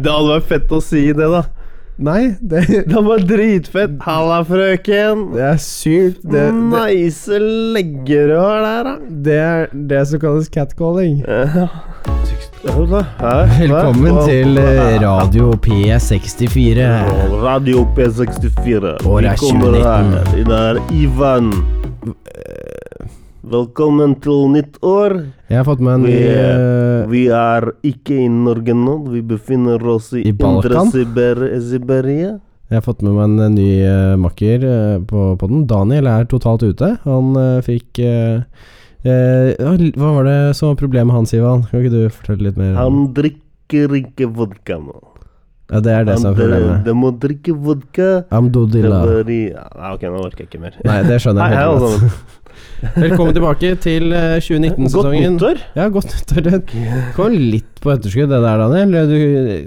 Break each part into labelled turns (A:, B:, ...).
A: Det hadde vært fett å si det, da.
B: Nei, det,
A: Det var dritfett. Halla, frøken.
B: det er sykt. Det,
A: Mm.
B: det,
A: Nice leggerør der, da.
B: det er det som kalles catcalling.
A: Ja.
C: Velkommen til eh, Radio P64.
A: Radio P64.
C: Året er
A: Vi kommer
C: 2019.
A: her. Det er Ivan. Velkommen til nytt år.
C: Jeg har fått meg en ny
A: Vi,
C: eh,
A: vi er ikke i Norge nå. Vi befinner oss i,
C: I Balkan?
A: Indre-Siberia.
C: Jeg har fått med meg en eh, ny eh, makker eh, på, på den. Daniel er totalt ute. Han eh, fikk eh, eh, Hva var det som var problemet hans, Ivan? Kan ikke du fortelle litt mer? om-
A: Han drikker ikke vodka nå.
C: ja, det er det
A: Han
C: som er
A: dre-
C: problemet.
A: de må drikke vodka. Det
C: Amdodilla.
A: bør i- Ja, ok, nå orker jeg ikke mer.
C: Nei, det skjønner
A: Hei,
C: jeg.
A: hei,
C: helt
A: alle
C: godt.
A: sammen.
C: Velkommen tilbake til eh, 2019-sesongen.
A: altså Godt nyttår.
C: Ja, godt nyttår. Det kom litt på etterskudd, det der, Daniel. Du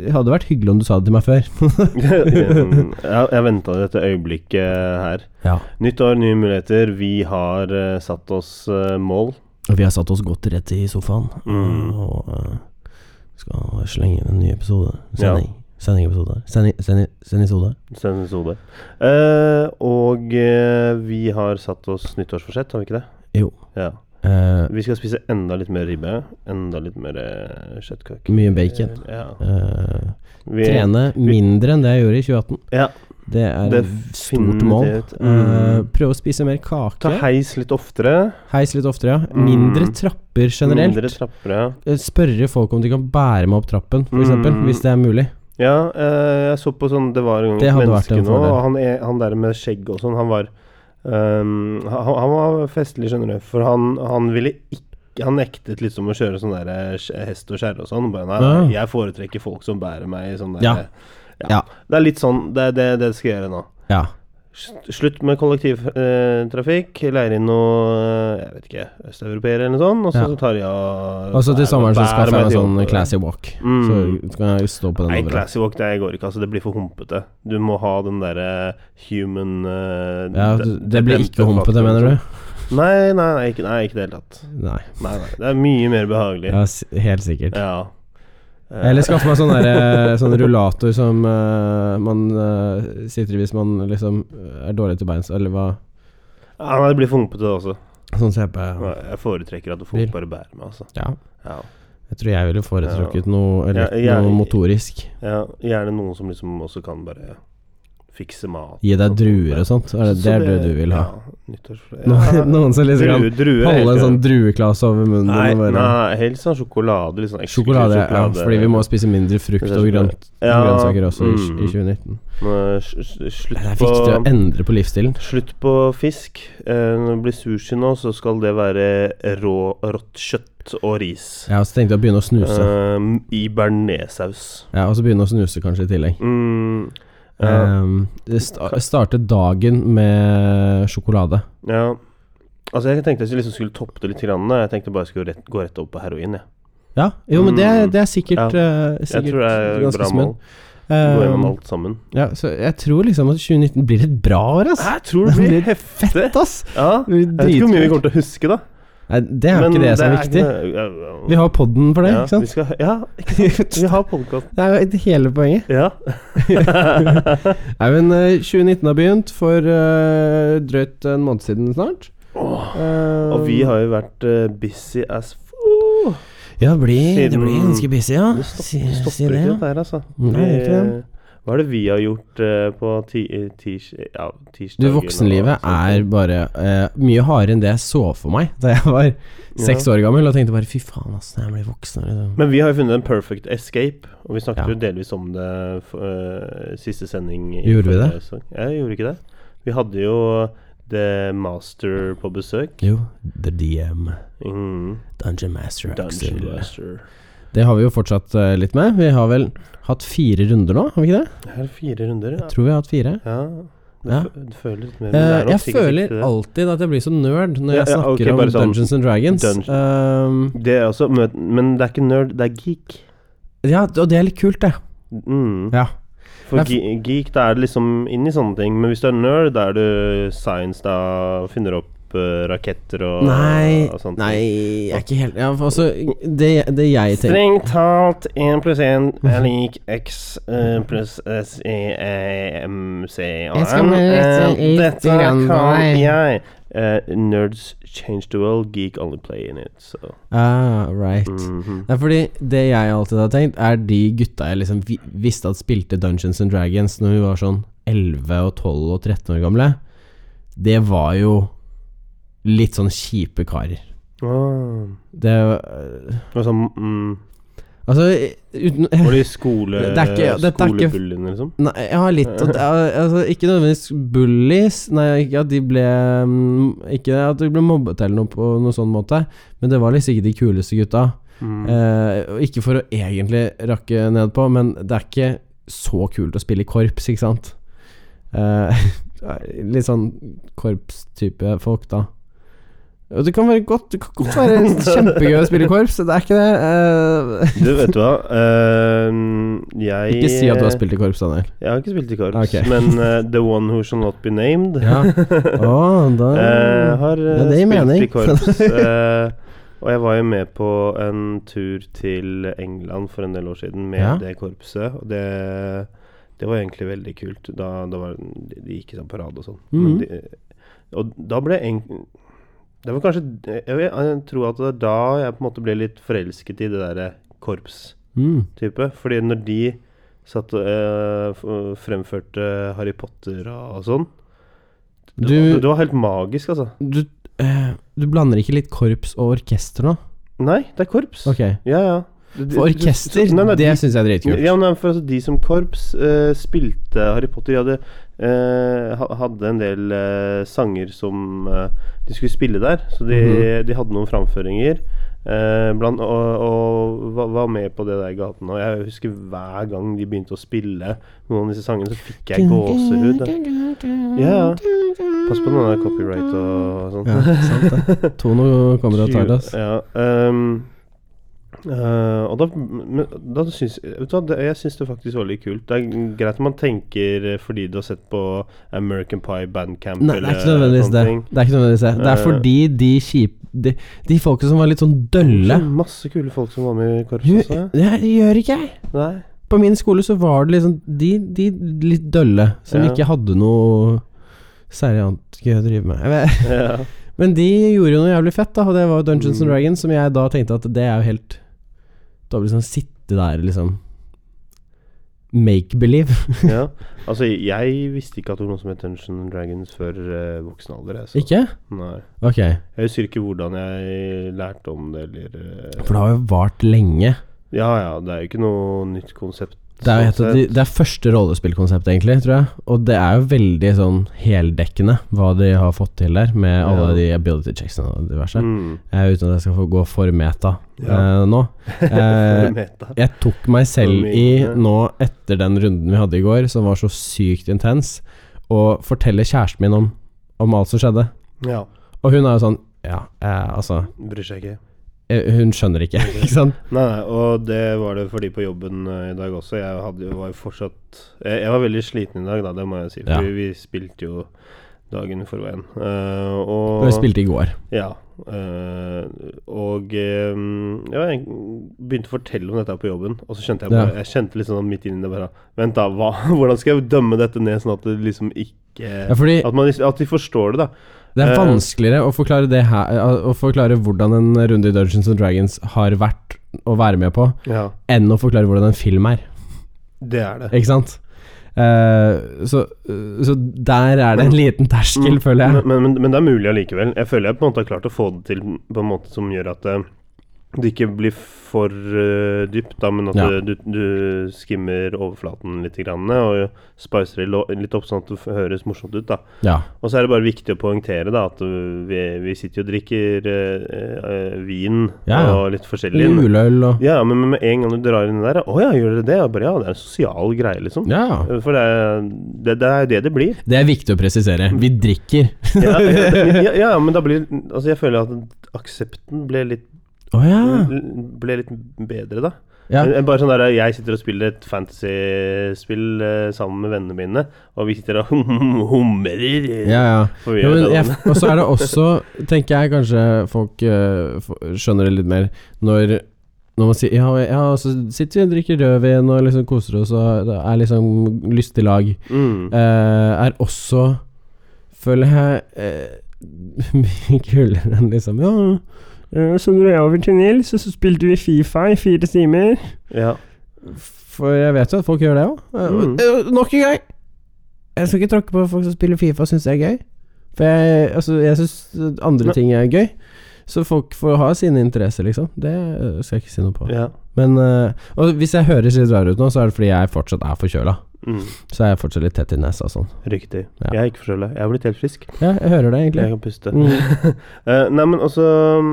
C: det hadde vært hyggelig om du sa det til meg før.
A: jeg jeg venta dette øyeblikket her.
C: Ja,
A: Nytt år, nye muligheter. Vi har eh, satt oss eh, mål.
C: og vi har satt oss godt rett i sofaen.
A: Mm.
C: Og eh, skal slenge inn en ny episode. Sending. Sendingepisode. Sending, sending, sendisode.
A: Send oss hodet. Eh, og eh, vi har satt oss nyttårsforsett, har vi ikke det?
C: Jo.
A: Ja.
C: Eh,
A: Vi skal spise enda litt mer ribbe. Enda litt mer eh, kjøttkake.
C: mye bacon.
A: Ja.
C: Eh,
A: Vi,
C: trene mindre enn det jeg gjorde i 2018.
A: Ja.
C: Det er
A: Det
C: et stort mål.
A: definitivt.
C: Eh,
A: Mm.
C: prøve å spise mer kake.
A: Ta heis litt oftere.
C: Heis litt oftere, ja.
A: Mm.
C: Mindre trapper generelt.
A: Mindre trapper. ja.
C: Eh, Spørre folk om de kan bære meg opp trappen, f.eks. eksempel
A: Mm.
C: Hvis det er mulig.
A: Ja, eh, jeg så på sånn Det var en gang
C: Det
A: et
C: hadde vært
A: menneske
C: en
A: nå, og
C: fordel.
A: han, er, han der med skjegg og sånn, han var ehm, han, han var festlig, skjønner du, for han, han ville ikke han nektet liksom å kjøre sånn der eh, skje- hest og kjerre og sånn. Bare nei,
C: Ah.
A: jeg foretrekker folk som bærer meg i sånn der
C: Ja.
A: ja.
C: Ja.
A: Det er litt sånn Det er det, det skal jeg gjøre nå.
C: Ja.
A: Sl- Slutt med kollektivtrafikk. Leier inn noe eh, Jeg vet ikke Østeuropeere eller noe sånt, og så
C: Ja.
A: tar jeg og
C: Og så til
A: bærer-
C: sommeren så
A: bærer
C: skaffer jeg meg
A: til
C: sånn
A: jobb.
C: classy walk.
A: Mm.
C: Så kan jeg jo stå på den
A: Nei,
C: overalt.
A: classy walk det går ikke. Altså, det blir for humpete. Du må ha den derre human eh,
C: Ja,
A: de-
C: du- det blir ikke
A: demper
C: humpete,
A: faktoren,
C: mener du?
A: sånn. Nei, nei, nei, ikke, nei, ikke i det hele tatt.
C: Nei,
A: Nei, nei, det er mye mer behagelig.
C: ja, s- helt sikkert.
A: Ja. Eh,
C: Eller skaffe meg sånn derre- sånn rullator som eh, man eh, sitter i hvis man liksom er dårlig til beins, eller hva
A: Eh, ja, nei, det blir for humpete også.
C: Sånn ser jeg på
A: Nei,
C: ja.
A: Jeg foretrekker at folk
C: Bil.
A: bare bærer meg, altså.
C: ja.
A: Ja.
C: Jeg tror jeg ville foretrukket noe, eller,
A: Ja, jeg-
C: noe motorisk.
A: ja. Gjerne noen som liksom også kan bare fikse mat. Sånn.
C: Gi deg druer og sånt. Er det,
A: Så
C: det er det du vil ha?
A: Ja, nyttårsfor-
C: Noen, noen som liksom kan
A: Drue- druer er helt
C: holde en sånn
A: greit.
C: drueklasse over munnen
A: Nei,
C: og bare
A: nei, helst sånn sjokolade. Litt sånn eksklusiv
C: Sjokolade, ja,
A: sjokolade.
C: fordi vi må spise mindre frukt og grønt,
A: Ja,
C: grønnsaker også i,
A: mm.
C: i 2019.
A: Nå, s- s- Slutt
C: Det er viktig å
A: på
C: endre på livsstilen.
A: Slutt på fisk. Eh, Når det blir sushi nå, så skal det være rå, rått kjøtt og ris.
C: Jeg har også tenkt å begynne å snuse.
A: Um, I bearnéssaus.
C: Ja, og så begynne å snuse kanskje i tillegg.
A: Mm, ja,
C: Um, det sta starte dagen med sjokolade.
A: ja. Altså, jeg tenkte jeg liksom skulle toppe det litt. Grann, da. jeg tenkte bare jeg skulle rett, gå rett opp på heroin. Jeg,
C: Ja, jo, men det, er-
A: Mm.
C: det er sikkert, eh,
A: jeg
C: sikkert
A: tror det er et
C: ganske
A: bra mål.
C: smooth.
A: Gå gjennom
C: Um,
A: alt sammen.
C: ja, så jeg tror liksom at 2019 blir et bra år, ass.
A: Jeg tror det blir heftig.
C: Fett, ass!
A: Ja.
C: Det
A: Jeg vet
C: blir
A: ikke hvor mye vi
C: dritkult.
A: kommer til å huske, da.
C: Nei, det er jo ikke det som er viktig. Vi har podden for det,
A: ja,
C: ikke
A: vi
C: sant?
A: skal, ja, ikke sant? Vi har podkast.
C: Det er jo et- hele poenget.
A: Ja.
C: Nei, men eh, 2019 har begynt for eh, drøyt en måned siden snart. Eh,
A: Og vi har jo vært eh, busy as f***.
C: Ja, det blir, det blir
A: Siden-
C: ganske busy, ja.
A: Det
C: Si,
A: stopper, det stopper
C: si det,
A: ikke
C: ja.
A: dette her, altså.
C: Nei, det gjør ikke det.
A: Vi- Eh, hva er det vi har gjort eh, på ti, eh, tirs, ja, tirsdagen
C: Du,
A: og
C: voksenlivet
A: sånt?
C: er bare eh, mye hardere enn det jeg så for meg da jeg var seks år gammel og tenkte bare fy faen, ass, når jeg blir voksen. Liksom.
A: Men vi har jo funnet en perfect escape, og vi snakket
C: Ja.
A: jo delvis om det f eh, siste sending. i
C: Gjorde vi
A: forrige
C: det?
A: sesong. Ja, jeg gjorde ikke det. Vi hadde jo The Master på besøk.
C: Jo, The DM,
A: Mm.
C: Dungeon Master Axel.
A: Dungeon Master.
C: Det har vi jo fortsatt eh, litt med. Vi har vel hatt fire runder nå, har vi ikke det?
A: Her er fire runder, ja.
C: Jeg tror vi har hatt fire.
A: ja. Du,
C: Ja.
A: fø- du føler litt mer men det
C: Eh,
A: er nok
C: jeg
A: sikkert
C: føler
A: riktig det.
C: alltid at jeg blir så nerd
A: Ja,
C: når jeg
A: ja,
C: snakker
A: ok,
C: om
A: bare sånn
C: Dungeons and Dragons.
A: dungeon-
C: Ehm,
A: Det er også, men, men det er ikke nerd, det er geek.
C: ja, og det er litt kult, det.
A: Mm.
C: Ja.
A: For
C: Jeg f-
A: ge geek, da er det liksom inn i sånne ting. Men hvis du er nerd, da er du science, da finner opp raketter og,
C: Nei,
A: og sånt.
C: nei jeg er ikke helt ja, for altså, det, det jeg tenker
A: Strengt talt 1 pluss 1 er lik x eh, pluss s i e m c a
B: Jeg skal
A: n.
B: bare rette litt
A: Eh, Dette
B: grann på
A: kan
B: meg.
A: jeg. Eh, nerds change the world, geek only play in it. So.
C: ah, Right.
A: mhm.
C: Det er fordi det jeg alltid har tenkt, er de gutta jeg liksom vi visste at spilte Dungeons and Dragons når vi var sånn 11 og 12 og 13 år gamle. Det var jo litt sånn kjipe karer.
A: Ah.
C: Det øh,
A: Og så, mm,
C: Altså, uten
A: var de skole,
C: Det er ikke- det er ikke-
A: skolebullen, liksom?
C: Nei, ja, litt at, ja, altså, Ikke nødvendigvis bullies Nei, ikke at de ble mm, Ikke at de ble mobbet eller noe på noen sånn måte Men det var liksom ikke de kuleste gutta
A: Mm.
C: eh, og Ikke for å egentlig rakke ned på Men det er ikke så kult å spille i korps, ikke sant? Eh, litt sånn korpstype folk da Og det kan være godt Det kan godt være kjempegøy å spille i korps Det er ikke det eh,
A: Du, vet du hva? Eh, jeg
C: Ikke si at du har spilt i korps, Daniel
A: Jeg har ikke spilt i korps,
C: Ok.
A: men eh, The One Who Shall Not Be Named
C: Ja, Å, da
A: Eh, har eh,
C: Ja, det gir
A: spilt
C: mening.
A: i korps. eh, og jeg var jo med på en tur til England for en del år siden med
C: Ja.
A: det korpset. Og det, det var egentlig veldig kult. Da, da var, de gikk i sånn parade og sånn. Men
C: Mhm.
A: de, og da ble jeg en- Det var kanskje jeg, vil- jeg tror at det er da jeg på en måte ble litt forelsket i det derre korps-type.
C: Mm.
A: Fordi når de satt og eh, f- fremførte Harry Potter og, og sånn det,
C: Du-
A: var- det var helt magisk, altså.
C: Du, eh, du blander ikke litt korps og orkester nå?
A: Nei, det er korps.
C: Ok.
A: Ja, ja. Du- du-
C: For
A: du-
C: orkester,
A: nei, nei,
C: det
A: de-
C: syns jeg er dritkult.
A: ja, nei, for altså, De som korps eh, spilte Harry Potter. De hadde, eh, ha- hadde en del eh, sanger som eh, de skulle spille der. Så de, de hadde noen framføringer. eh, blant, og og var, var med på det der i gaten. Og jeg husker hver gang de begynte å spille noen av disse sangene, så fikk jeg gåsehud. Ja, ja. Pass på noen av copyright og sånn.
C: Ja, sant det. Tono kommer og tar det, ass.
A: Ja, ehm, eh, og da, men, da syns vet du hva, det- Jeg syns det faktisk var litt kult. Det er greit at man tenker eh, fordi du har sett på American Pie Bandcamp
C: Nei, det er ikke nødvendigvis det. Det er ikke nødvendigvis det. Det er
A: Eh.
C: fordi de kjip... De, de folka som var litt sånn dølle
A: Så masse kule folk som var med i korpset
C: Gjør-
A: også.
C: Det gjør ikke jeg.
A: Nei.
C: På min skole så var det liksom de, de litt dølle, som
A: Ja.
C: ikke hadde noe særlig annet gøy å drive med. Jeg vet.
A: Ja.
C: Men de gjorde jo noe jævlig fett, da, og det var jo Dungeons and
A: Mm.
C: Dragons, som jeg da tenkte at det er jo helt Da blir det sånn sitte der, liksom Make believe.
A: ja. Altså, jeg visste ikke at det var noe som het Dungeons and Dragons før eh, voksen alder. jeg, Så.
C: Ikke?
A: Nei.
C: Ok.
A: Jeg husker ikke hvordan jeg lærte om det, eller eh,
C: For det har jo vart lenge.
A: Ja ja, det er jo ikke noe nytt konsept.
C: Det er,
A: sånn
C: jo et av de, det er første rollespillkonsept, egentlig, tror jeg. Og det er jo veldig sånn heldekkende hva de har fått til der, med
A: Ja.
C: alle de ability checksene og
A: sett.
C: diverse.
A: Mm.
C: Eh, uten at jeg skal få gå for meta
A: Ja.
C: eh, nå. Eh,
A: Meta.
C: Jeg tok meg selv
A: For
C: i
A: mye.
C: nå etter den runden vi hadde i går, som var så sykt intens, å fortelle kjæresten min om, om alt som skjedde.
A: Ja.
C: Og hun er jo sånn Ja, eh, altså
A: Bryr seg ikke.
C: eh, Hun skjønner ikke, ikke sant?
A: Nei, nei, og det var det for de på jobben eh, i dag også. Jeg hadde, jo- var jo fortsatt jeg, jeg var veldig sliten i dag, da, det må jeg si. For
C: Ja.
A: vi, vi spilte jo dagen i forveien. Eh,
C: Og vi
A: og
C: spilte i går.
A: Ja. eh, og eh, ja, jeg begynte å fortelle om dette her på jobben, og så skjønte jeg
C: Ja.
A: bare, Jeg kjente liksom sånn midt inni det bare Vent, da. Hva, hvordan skal jeg dømme dette ned, sånn at det liksom ikke
C: Ja, fordi
A: at, man, liksom- at de forstår det, da.
C: det er
A: eh,
C: vanskeligere å forklare det her eh, Å forklare hvordan en runde i Dungeons and Dragons har vært å være med på,
A: Ja,
C: enn å forklare hvordan en film er.
A: det er det.
C: Ikke sant? Eh, så, så der er det en liten terskel,
A: Mm,
C: føler jeg.
A: Men, men, men det er mulig allikevel. Jeg føler jeg på en måte har klart å få det til på en måte som gjør at eh, det ikke blir for eh, dypt, da, men at
C: Ja.
A: eh, du, du skimmer overflaten litt grann, eh, og spicer det lo- litt opp sånn at det f- høres morsomt ut. da.
C: Ja.
A: Og så er det bare viktig å poengtere da, at eh, vi, vi sitter jo og drikker eh, eh, vin
C: Ja, ja.
A: og litt forskjellig.
C: Juleøl og
A: Ja, men men med en gang du drar inn der Å ja, gjør dere det? Jeg Bare, ja, det er en sosial greie, liksom.
C: Ja.
A: For det er det, det er jo det det blir.
C: Det er viktig å presisere. Vi drikker.
A: ja, ja, men- ja, ja, men da blir Altså, jeg føler at aksepten ble litt
C: Å ja.
A: Ble litt bedre, da.
C: Ja.
A: Men, eh, Bare sånn der, Jeg sitter og spiller et fantasyspill eh, sammen med vennene mine, og vi sitter og humrer.
C: Ja, ja.
A: Får vi gjøre
C: Ja, men
A: det,
C: jeg,
A: da?
C: og så er det også, tenker jeg kanskje folk eh, f- skjønner det litt mer når, når man sier ja, ja, så sitter vi og drikker rødvin og liksom koser oss og det er liksom lystig lag.
A: Mm.
C: eh, er også, føler jeg, eh, mye kulere enn liksom ja, eh, så dro jeg over til Nils, og så spilte vi Fifa i fire timer.
A: Ja.
C: For jeg vet jo at folk gjør det òg.
A: Mm.
C: Nok en gang! Jeg skal ikke tråkke på folk som spiller Fifa og syns det er gøy. For jeg, altså, jeg syns andre
A: Men-
C: ting er gøy. Så folk får ha sine interesser, liksom. Det øh, skal jeg ikke si noe på.
A: ja.
C: Men øh, Og hvis jeg høres litt rar ut nå, så er det fordi jeg fortsatt er forkjøla.
A: Mm.
C: Så er jeg fortsatt litt tett i nesa og sånn.
A: Riktig.
C: Ja.
A: Jeg er ikke forkjøla. Jeg har blitt helt frisk.
C: Ja, jeg hører det egentlig.
A: Jeg kan puste.
C: Mm.
A: Eh, nei, men altså mm,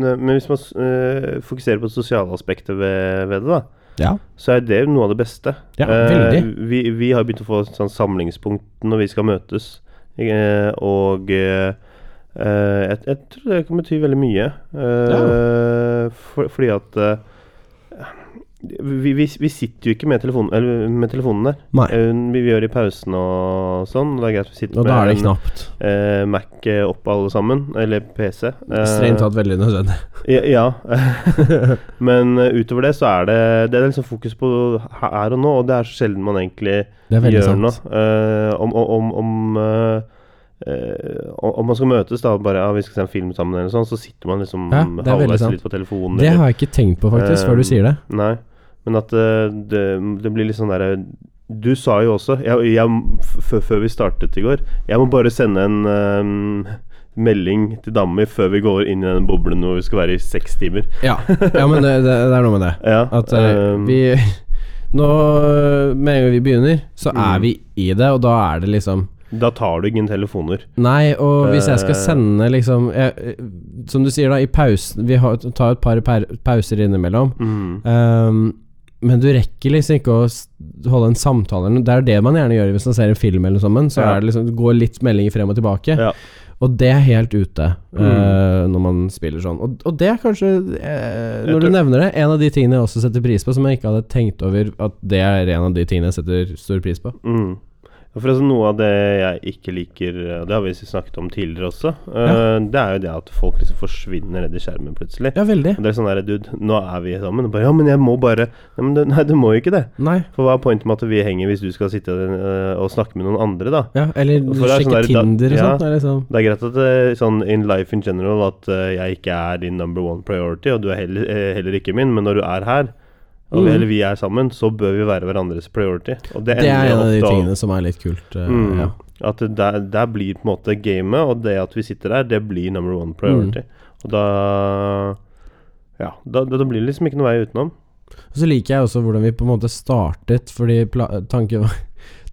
A: ne- Men hvis man s- eh, fokuserer på det sosiale aspektet ved, ved det, da,
C: Ja.
A: så er det jo noe av det beste.
C: Ja,
A: Eh,
C: veldig.
A: vi, vi har begynt å få et sånt samlingspunkt når vi skal møtes, eh, og eh, eh, jeg, jeg tror det kan bety veldig mye. eh, for, fordi at eh, vi, vi, vi sitter jo ikke med, telefonen- eller med telefonene.
C: Nei.
A: Eh, vi, vi gjør det i pausen og sånn. og Det er greit å sitte
C: Og da er det
A: med en
C: knapt.
A: eh, Mac eh, opp alle sammen, eller PC. Eh,
C: Strengt tatt veldig nødvendig.
A: Ja. ja. Men eh, utover det så er det Det er liksom fokus på her og nå, og det er så sjelden man egentlig
C: Det er veldig
A: gjør
C: sant.
A: noe. Eh, om om, om eh, eh, om man skal møtes da bare ja, vi skal se en film sammen, eller sånn, så sitter man liksom
C: Ja, det er veldig
A: halvveis
C: sant.
A: litt på telefonen.
C: Det
A: eller-
C: har jeg ikke tenkt på, faktisk, før du
A: Eh,
C: sier det.
A: Nei, men at eh, det, det blir litt sånn derre Du sa jo også, jeg, jeg, f før vi startet i går Jeg må bare sende en eh, melding til dama mi før vi går inn i den boblen hvor vi skal være i seks timer.
C: Ja, ja men det, det, det er noe med det.
A: Ja,
C: At eh,
A: eh,
C: vi Nå eh, Med en gang vi begynner, så er
A: Mm.
C: vi i det, og da er det liksom
A: Da tar du ingen telefoner.
C: Nei, og hvis jeg skal
A: Eh.
C: sende liksom jeg, eh, Som du sier, da, i pausen Vi har, tar et par per, pauser innimellom.
A: Mm.
C: ehm, men du rekker liksom ikke å s- holde en samtale. eller noe. Det er det man gjerne gjør hvis man ser en film eller noe sånt. Så
A: Ja.
C: er det liksom, det går litt meldinger frem og tilbake.
A: Ja.
C: Og det er helt ute
A: Mm.
C: eh, når man spiller sånn. Og, og det er kanskje, eh,
A: Jeg
C: når du
A: tror-
C: nevner det, en av de tingene jeg også setter pris på, som jeg ikke hadde tenkt over at det er en av de tingene jeg setter stor pris på.
A: Mm. Og Forresten, noe av det jeg ikke liker, og det har vi snakket om tidligere også, eh, det er jo det at folk liksom forsvinner ned i skjermen plutselig.
C: Ja, veldig.
A: Og det er sånn der, dude, nå er vi sammen. Og bare, ja, men jeg må bare Nei, men du, nei, du må jo ikke det.
C: Nei.
A: For hva er poenget med at vi henger hvis du skal sitte øh, og snakke med noen andre, da?
C: Ja, eller
A: For det er
C: sjekke
A: sånn der- da-
C: Tinder og
A: ja.
C: sånt. det er Liksom.
A: Det er greit at øh, sånn in life in general at øh, jeg ikke er din number one priority, og du er heller, eh, heller ikke min, men når du er her, og vi,
C: Mm.
A: eller vi er sammen, så bør vi være hverandres priority. Og det
C: Det er
A: ender
C: en av de
A: ofte
C: tingene som er litt kult. eh,
A: Mm.
C: ja.
A: At det der, der blir på en måte gamet, og det at vi sitter der, det blir number one
C: Mhm.
A: priority. Og da Ja, da, da blir det liksom ikke noe vei utenom.
C: Og så liker jeg også hvordan vi på en måte startet, fordi pla- tanken var,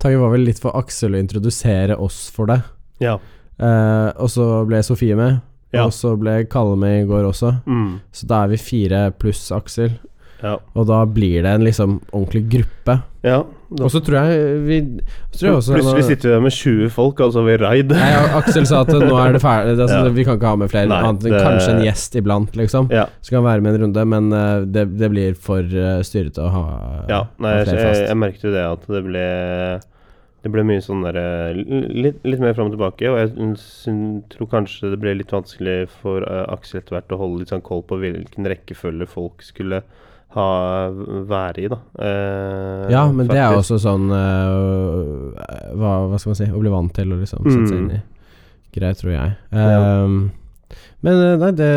C: tanken var vel litt for Aksel å introdusere oss for det.
A: Ja.
C: Eh, og så ble Sofie med,
A: Ja.
C: og så ble Kalle med i går også.
A: Mm.
C: Så da er vi fire pluss Aksel,
A: Ja.
C: og da blir det en liksom ordentlig gruppe.
A: ja da
C: Og så tror jeg vi så tror jeg også
A: Plutselig sitter vi der med 20 folk, altså vi raid.
C: Nei, og Aksel sa at nå er det ferdig, altså,
A: Ja.
C: vi kan ikke ha med flere.
A: Nei,
C: annet, enn
A: det-
C: Kanskje en gjest iblant, liksom.
A: Ja.
C: Som kan være med en runde, men eh, det, det blir for eh, styrete å ha
A: ja. Nei,
C: ha
A: jeg,
C: flere
A: jeg,
C: fast.
A: jeg merket jo det at det ble Det ble mye sånn derre litt, litt mer fram og tilbake, og jeg syn- tror kanskje det ble litt vanskelig for eh, Aksel etter hvert å holde litt sånn koll på hvilken rekkefølge folk skulle ha være i, da. Eh,
C: ja, men det er
A: faktisk.
C: jo også sånn eh, hva, hva skal man si Å bli vant til å liksom sette seg
A: Mm.
C: inn i greier, tror jeg.
A: Ja.
C: Ehm, Men eh, nei, det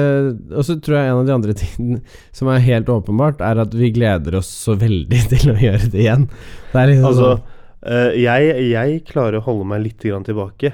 C: Og så tror jeg en av de andre tingene som er helt åpenbart, er at vi gleder oss så veldig til å gjøre det igjen. Det er liksom
A: Altså, eh, jeg, jeg klarer å holde meg litt grann tilbake,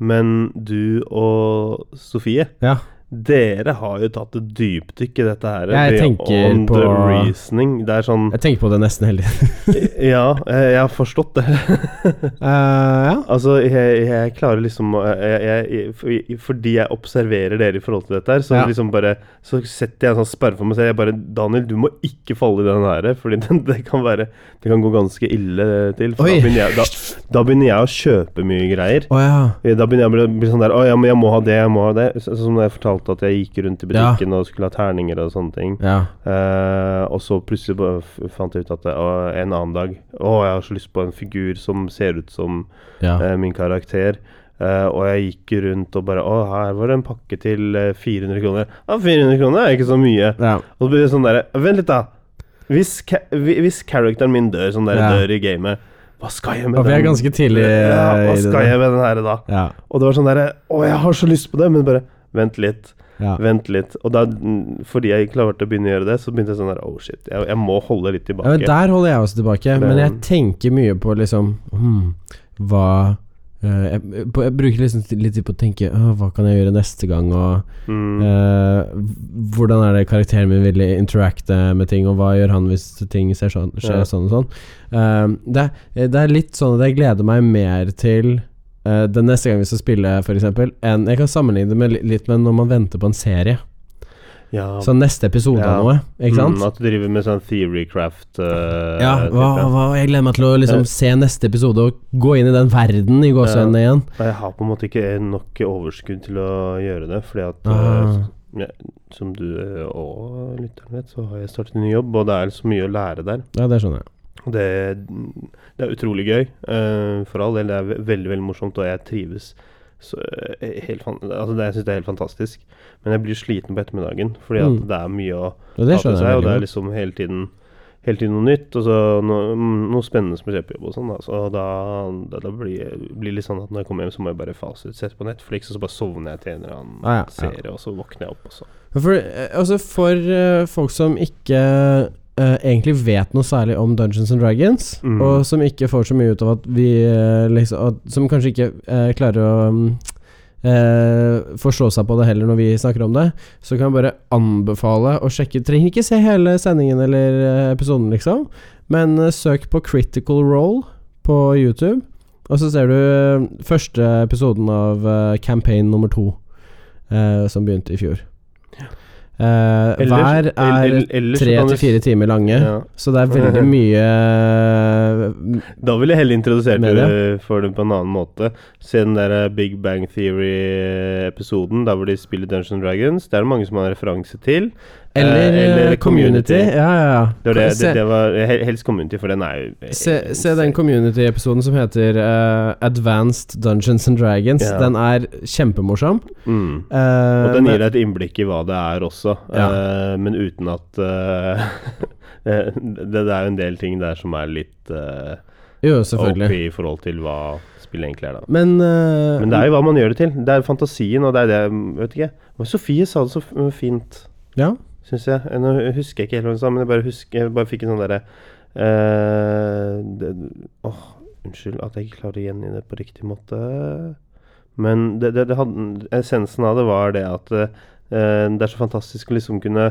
A: men du og Sofie
C: Ja.
A: Dere har jo tatt et dypdykk i dette her.
C: Jeg
A: beyond
C: tenker
A: the
C: på-
A: reasoning. Det er sånn
C: sånn Jeg tenker på det nesten hele tiden.
A: Ja, eh, jeg har forstått det.
C: Eh, ja.
A: Altså, jeg, jeg klarer liksom å- jeg, jeg, for- Fordi jeg observerer dere i forhold til dette her, så
C: Ja.
A: liksom bare Så setter jeg en sånn sperre for meg selv. Jeg bare Daniel, du må ikke falle i den her, Fordi den, det kan være Det kan gå ganske ille til. For da
C: Oi.
A: begynner, jeg, da, da begynner jeg å kjøpe mye greier.
C: Å ja.
A: Da begynner jeg å bli, bli sånn der Å, ja, men jeg må ha det, jeg må ha det. Så- Sånn som jeg fortalte at jeg gikk rundt i butikken og skulle ha terninger og sånne ting.
C: Ja.
A: Eh, og så plutselig bare f- fant jeg ut at det, å, en annen dag Å, jeg har så lyst på en figur som ser ut som
C: ja.
A: eh, min karakter. Eh, og jeg gikk rundt og bare Å, her var det en pakke til eh, 400 kroner. Ja, 400 kroner er ikke så mye.
C: ja.
A: Og så blir det sånn derre Vent litt, da. Hvis, ca hvi- hvis characteren min dør, sånn der
C: Ja.
A: dør i gamet, hva skal jeg med
C: Og vi er
A: den?
C: ganske tidlig eh,
A: ja, hva
C: i det.
A: skal
C: der.
A: jeg med den her da?
C: Ja.
A: Og det var sånn derre Å, jeg har så lyst på det, men bare Vent litt,
C: Ja.
A: vent litt. Og da, mm, fordi jeg klarte å begynne å gjøre det, så begynte jeg sånn der Oh shit, jeg, jeg må holde litt
C: Ja, men
A: tilbake.
C: der holder jeg også tilbake, men jeg tenker mye på liksom hmm, Hva eh, jeg, på, jeg bruker liksom litt tid på å tenke «Åh, hva kan jeg gjøre neste gang, og
A: Mm,
C: eh, hvordan er det karakteren min vil interacte med ting, og hva gjør han hvis ting ser sånn, skjer
A: Ja.
C: sånn og sånn. Eh, det, er- det er litt sånn at jeg gleder meg mer til eh, den neste gang vi skal spille, f.eks., enn Jeg kan sammenligne det med, li- litt med når man venter på en serie.
A: ja,
C: Så neste episode
A: Ja.
C: av noe, sånn, ikke sant?
A: Mm, at du driver med sånn theorycraft eh,
C: Ja,
A: type.
C: hva, hva, jeg gleder meg til å
A: Eh.
C: liksom se neste episode og gå inn i den verden i gåseøynene igjen.
A: Og Jeg har på en måte ikke nok overskudd til å gjøre det, fordi at
C: Ah.
A: eh, ja, Som du eh, og lytteren vet, så har jeg startet en ny jobb, og det er så mye å lære der.
C: Ja, det skjønner jeg.
A: Og Det, det er utrolig gøy, eh, for all del. Det er ve- veldig veldig morsomt, og jeg trives. Så, eh, helt fan, altså det, jeg syns det er helt fantastisk. Men jeg blir sliten på ettermiddagen, fordi at
C: Mm.
A: det er mye å
C: Og det
A: ta til
C: skjønner
A: seg,
C: jeg
A: og det er
C: veldig godt.
A: liksom hele tiden Hele tiden noe nytt, og så noe, mm, noe spennende som skjer på jobb og sånn. da. Så da, da, da blir det litt sånn at når jeg kommer hjem, så må jeg bare fase ut. Sette på Netflix, og så bare sovner jeg til en eller annen
C: Ah, Ja, ja, ja.
A: serie, og så våkner jeg opp, og så
C: Men For, eh, altså for eh, folk som ikke eh, egentlig vet noe særlig om Dungeons and Dragons,
A: Mm.
C: og som ikke får så mye ut av at vi eh, liksom at, Som kanskje ikke eh, klarer å mm, eh, forstå seg på det heller når vi snakker om det, så kan jeg bare anbefale å sjekke Trenger ikke se hele sendingen eller eh, episoden, liksom, men eh, søk på Critical Role på YouTube. Og så ser du eh, første episoden av eh, campaign nummer to, eh, som begynte i fjor. Eh, hver er
A: eller- ellers så
C: tre
A: kan du
C: til
A: s-
C: fire timer lange,
A: Ja.
C: så det er veldig mye eh,
A: Da ville jeg heller introdusert
C: Med
A: det for dem på en annen måte. Se den der eh, Big Bang Theory-episoden, der hvor de spiller Dungeons and Dragons. Det er det mange som har en referanse til. Eh,
C: Eller,
A: eller
C: eh, community. Ja, ja, ja.
A: Det var det,
C: se,
A: det, det var he- helst Community, for den er jo
C: se, se den community-episoden som heter eh, Advanced Dungeons and Dragons.
A: Ja.
C: Den er kjempemorsom.
A: mm.
C: Eh,
A: Og den gir
C: men-
A: deg et innblikk i hva det er også, eh, men uten at eh, det, det er jo en del ting der som er litt eh,
C: Jo,
A: OP
C: selvfølgelig.
A: i forhold til hva spillet egentlig er, da.
C: Men, eh,
A: Men det er jo hva man gjør det til. Det er fantasien, og det er det jeg vet ikke. Men Sofie sa det så f- fint,
C: ja.
A: syns jeg. Nå husker jeg ikke helt hva hun sa, men jeg bare, husker, jeg bare fikk en sånn derre eh, det- Åh, unnskyld at jeg ikke klarer å gjengi det på riktig måte. Men det, det, det hadde, essensen av det var det at eh, det er så fantastisk å liksom kunne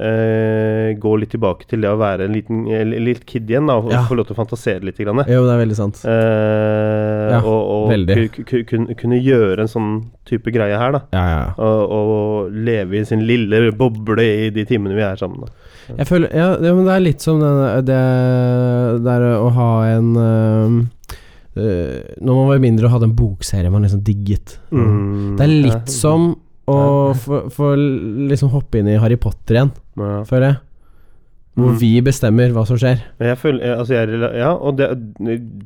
A: eh, gå litt tilbake til det å være en liten, en liten kid igjen, da, og
C: Ja.
A: få lov til å fantasere litt. Grann,
C: Jo, det er veldig sant.
A: Eh,
C: Ja,
A: og og
C: veldig.
A: ku- ku- kun- kunne gjøre en sånn type greie her, da.
C: Ja, ja, ja.
A: Og, og leve i sin lille boble i de timene vi er sammen. Da.
C: Jeg føler, ja, det, men det er litt som den, det der å ha en øhm, øh, Når man var mindre og hadde en bokserie man liksom digget.
A: Mm.
C: Det er litt som å få- få liksom hoppe inn i Harry Potter igjen,
A: ja.
C: føler jeg. Hvor
A: Mm.
C: vi bestemmer hela som skjer.
A: Men Jeg føler, jeg- altså jeg, rela- ja, og det,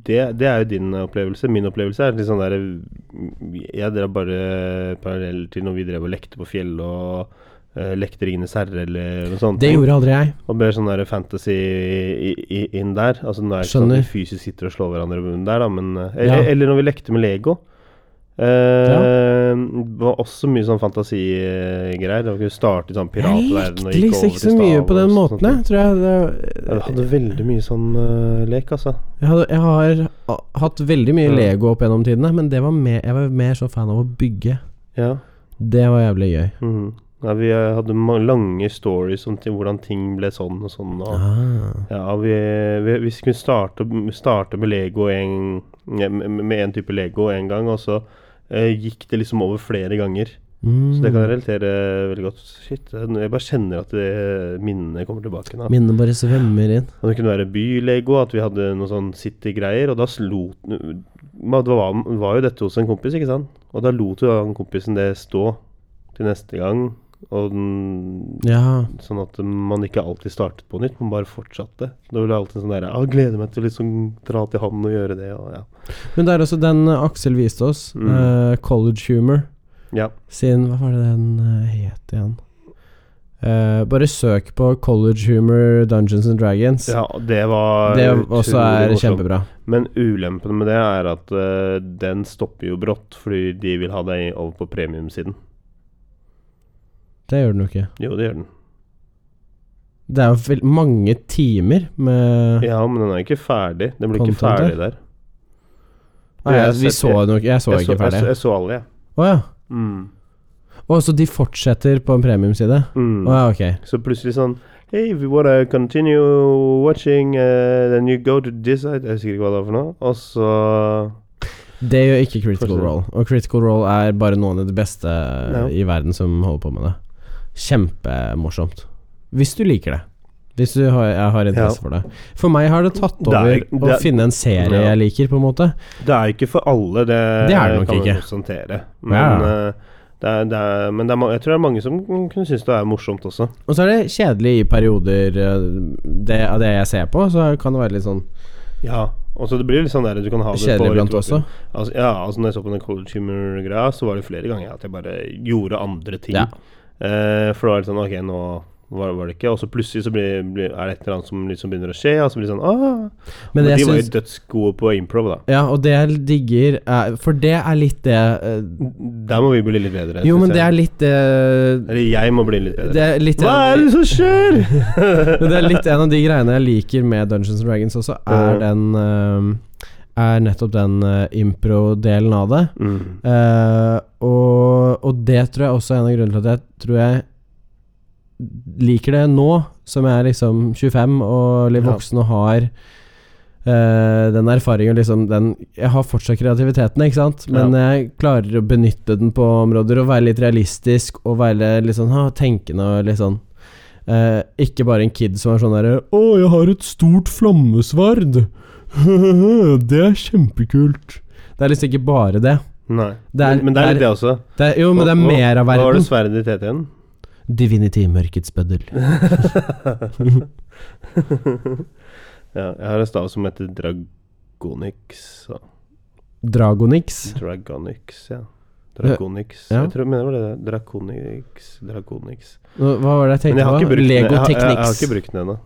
A: det, det er jo din opplevelse. Min opplevelse er litt sånn der Jeg drar bare paralleller til når vi drev og lekte på fjellet og eh, lekte Ringenes herre eller noe sånt.
C: Det gjorde aldri jeg.
A: Og ble sånn der fantasy i, i, inn der. Altså nå er det ikke sånn at vi fysisk sitter og slår hverandre i munnen der, da, men eh, eller,
C: Ja.
A: eller når vi lekte med Lego. Eh, Det var også mye sånn fantasigreier. Det var ikke starte i sånn
C: Jeg
A: piratverden
C: likte
A: og gikk
C: liksom
A: over til
C: ikke så mye
A: Star
C: på
A: Wars
C: den
A: og
C: måten, jeg.
A: sånt.
C: Tror jeg,
A: Jeg
C: det,
A: hadde veldig mye sånn eh, lek, altså.
C: jeg, hadde, jeg har ah, hatt veldig mye
A: Ja.
C: Lego opp gjennom tidene, men det var mer, jeg var mer sånn fan av å bygge.
A: Ja.
C: Det var jævlig gøy.
A: mhm. Nei, vi eh, hadde ma- lange stories om til hvordan ting ble sånn og sånn. Og,
C: Ah.
A: Ja, vi, vi, vi skulle starte, starte med Lego en, med en type Lego en gang, og så eh, gikk det liksom over flere ganger.
C: Mm.
A: Så det kan jeg relatere veldig godt. Shit, jeg bare kjenner at det, minnene kommer tilbake. Da.
C: Minnene bare svømmer inn.
A: Og det kunne være by-Lego, at vi hadde noe sånn City-greier. Og da slo Men Det var, var jo dette hos en kompis, ikke sant? Og da lot jo han kompisen det stå til neste gang. Og den,
C: Ja.
A: sånn at man ikke alltid startet på nytt, man bare fortsatte. Da ville jeg alltid sånn der, jeg gleder meg til å liksom dra til han og gjøre det. Og ja.
C: Men det er også den eh, Aksel viste oss,
A: Mm.
C: eh, College Humor,
A: ja.
C: sin Hva var det den eh, het igjen? Eh, bare søk på College Humor Dungeons and Dragons.
A: ja, det var sånn.
C: det også er
A: utrolig morsomt.
C: kjempebra.
A: Men ulempen med det er at eh, den stopper jo brått, fordi de vil ha deg over på premiumsiden.
C: Det gjør den jo ikke.
A: Jo, det gjør den.
C: Det er jo vel mange timer med
A: Ja, men den er ikke ferdig. Den blir ikke
C: Content der?
A: ferdig der.
C: Nei,
A: jeg
C: jeg,
A: har
C: vi
A: sett
C: så den jo ikke. Jeg så
A: jeg, så,
C: ikke ferdig.
A: jeg, så, jeg så alle, jeg.
C: Å ja.
A: Mm.
C: Å, så de fortsetter på en premiumside? Å
A: Mm.
C: ja, ok.
A: Så plutselig sånn Hey, if you wanna continue watching, eh, then you go to this side Jeg husker ikke hva det var for noe. Og så
C: Det gjør ikke Critical
A: Fortsetter.
C: Role. Og Critical Role er bare noen av de beste
A: Ja.
C: i verden som holder på med det. Kjempemorsomt. Hvis du liker det. Hvis du har, jeg har interesse for det. For meg har det tatt
A: Det er-
C: over å
A: det er-
C: finne en serie
A: Ja.
C: jeg liker, på en måte.
A: Det er jo ikke for alle, det,
C: Det er det nok
A: kan man
C: ikke.
A: konstatere. Men,
C: Ja.
A: eh, det er, det er, men det er, ma- jeg tror det er mange som kunne synes det er morsomt også.
C: Og så er det kjedelig i perioder, eh, det, av det jeg ser på, så kan det være litt sånn
A: Ja. Og så det blir litt sånn der du kan ha det
C: kjedelig
A: på
C: iblant også.
A: Altså, ja, altså når jeg så på den college humor-greia, så var det flere ganger at jeg bare gjorde andre ting.
C: Ja.
A: Eh, for da var det sånn Ok, nå var, var det ikke Og så plutselig så blir, blir, er det et eller annet som liksom begynner å skje, og så blir det sånn ah.
C: Men
A: Og
C: jeg
A: de var
C: syns
A: jo dødsgode på improv, da.
C: Ja, og det jeg digger er, For det er litt det eh,
A: Der må vi bli litt bedre.
C: Jo,
A: synes
C: men det er
A: jeg.
C: litt det
A: Eller jeg må bli litt bedre.
C: Det er litt
A: Hva er det som skjer?!
C: Men det er litt en av de greiene jeg liker med Dungeons and Dragons også,
A: Mhm.
C: er den eh, Er nettopp den eh, impro-delen av det.
A: Mm.
C: Eh, og, og det tror jeg også er en av grunnene til at jeg tror jeg liker det nå, som jeg er liksom 25 og litt
A: Ja.
C: voksen og har eh, den erfaringen liksom den, Jeg har fortsatt kreativiteten, ikke sant? Men jeg klarer å benytte den på områder og være litt realistisk og være litt sånn ha, tenkende og litt sånn. Eh, ikke bare en kid som er sånn derre 'Å, jeg har et stort flammesverd'. det er kjempekult. Det er liksom ikke bare det.
A: Nei.
C: Det er-
A: men, men det er litt det også.
C: Det er, jo, men det er
A: Hva- hva-
C: mer av
A: Hva var det
C: verden.
A: sverdet ditt het igjen?
C: Divinity mørkets bøddel.
A: Ja, jeg har en stav som heter Dragonix. Så.
C: Dragonix.
A: Dragonix, ja. Dragonix.
C: Ja.
A: Jeg tror jeg mener det var det. Draconix. Dragonix.
C: Nå, Hva var det
A: Men
C: jeg tenkte
A: jeg har ikke
C: på?
A: brukt den. Jeg,
C: Lego
A: har- jeg, jeg har
C: Technics.
A: ikke brukt den ennå.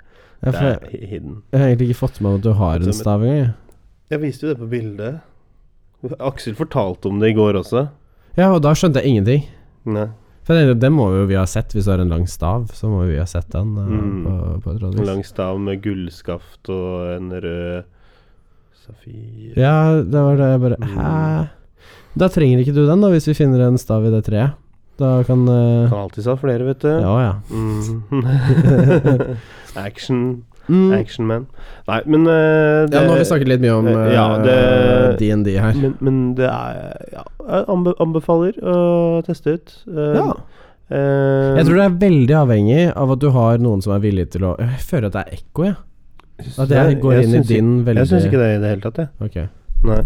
C: Ah,
A: det
C: jeg, får-
A: er hi- hidden.
C: jeg har egentlig ikke fått med meg at du har en stav engang. jeg.
A: Jeg viste jo det på bildet. Aksel fortalte om det i går også.
C: Ja, og da skjønte jeg ingenting.
A: Nei.
C: For jeg tenkte, den må jo vi ha sett. Hvis du har en lang stav, så må vi ha sett den. eh,
A: Mm.
C: på, på et eller annet
A: En
C: vis.
A: lang stav med gullskaft og en rød safir
C: Ja, det var det jeg bare
A: Mm.
C: Hæ? Da trenger ikke du den, da, hvis vi finner en stav i det treet. Da kan eh,
A: Kan alltids ha flere, vet du.
C: Ja, ja.
A: Mm. Action.
C: Mm.
A: Action man. Nei, men eh,
C: Ja, nå har vi
A: det-
C: snakket litt mye om
A: eh, ja,
C: eh,
A: det-
C: DND her.
A: Men, men det er ja, jeg anbe anbefaler å teste ut. Eh,
C: Ja.
A: eh,
C: Jeg tror det er veldig avhengig av at du har noen som er villig til å Jeg føler at det er ekko, jeg. At jeg
A: Nei,
C: går inn i
A: syns
C: din
A: ikke-
C: veldig
A: Jeg syns ikke det i det hele tatt, jeg.
C: Ok.
A: Nei.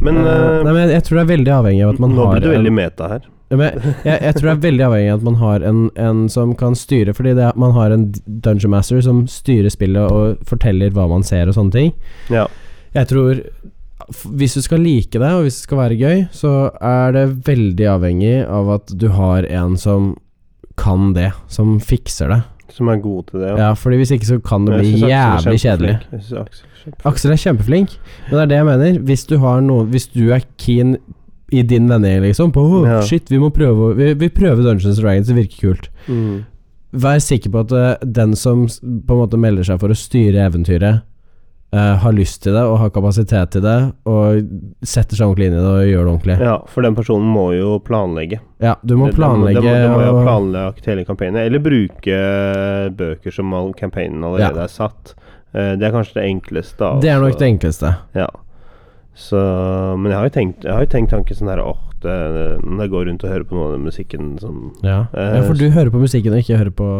A: Men,
C: Eh,
A: eh,
C: Nei, men jeg, jeg tror det er veldig avhengig av at man
A: nå ble
C: har
A: du
C: en-
A: veldig meta her.
C: Ja, men jeg, jeg, jeg tror det er veldig avhengig av at man har en, en som kan styre, fordi det, er- man har en dungeon master som styrer spillet og forteller hva man ser og sånne ting.
A: Ja.
C: Jeg tror f- hvis du skal like det, og hvis det skal være gøy, så er det veldig avhengig av at du har en som kan det, som fikser det.
A: Som er god til det. ja.
C: Ja, fordi hvis ikke så kan det
A: Men
C: bli
A: jeg synes Aksel er
C: jævlig
A: kjempeflink.
C: kjempeflink.
A: Jeg synes Aksel er kjempeflink.
C: Aksel er kjempeflink, men det er det jeg mener. Hvis du har noen Hvis du er keen i din vennegjeng, liksom, på «Åh,
A: Ja.
C: shit, vi må prøve å- Vi, vi prøver Dungeons and Dragons, det virker kult.
A: Mm.
C: Vær sikker på at eh, den som s- på en måte melder seg for å styre eventyret, eh, har lyst til det og har kapasitet til det, og setter seg ordentlig inn i det og gjør det ordentlig. Ja,
A: Ja, for den personen må jo planlegge.
C: du må
A: Det- det
C: planlegge
A: Det må, det må jo ha
C: og-
A: planlagt hele kampanjen. Eller bruke eh, bøker som all kampanjen allerede
C: Ja.
A: er satt. Eh, det er kanskje det enkleste. Av,
C: Det er nok
A: så-
C: det enkleste.
A: Ja. Så, men jeg har jo tenkt, jeg har jo tenkt tanken sånn her Åh, det, når jeg går rundt og hører på noe av den musikken som
C: Ja.
A: Eh,
C: ja, for du hører på musikken og ikke hører på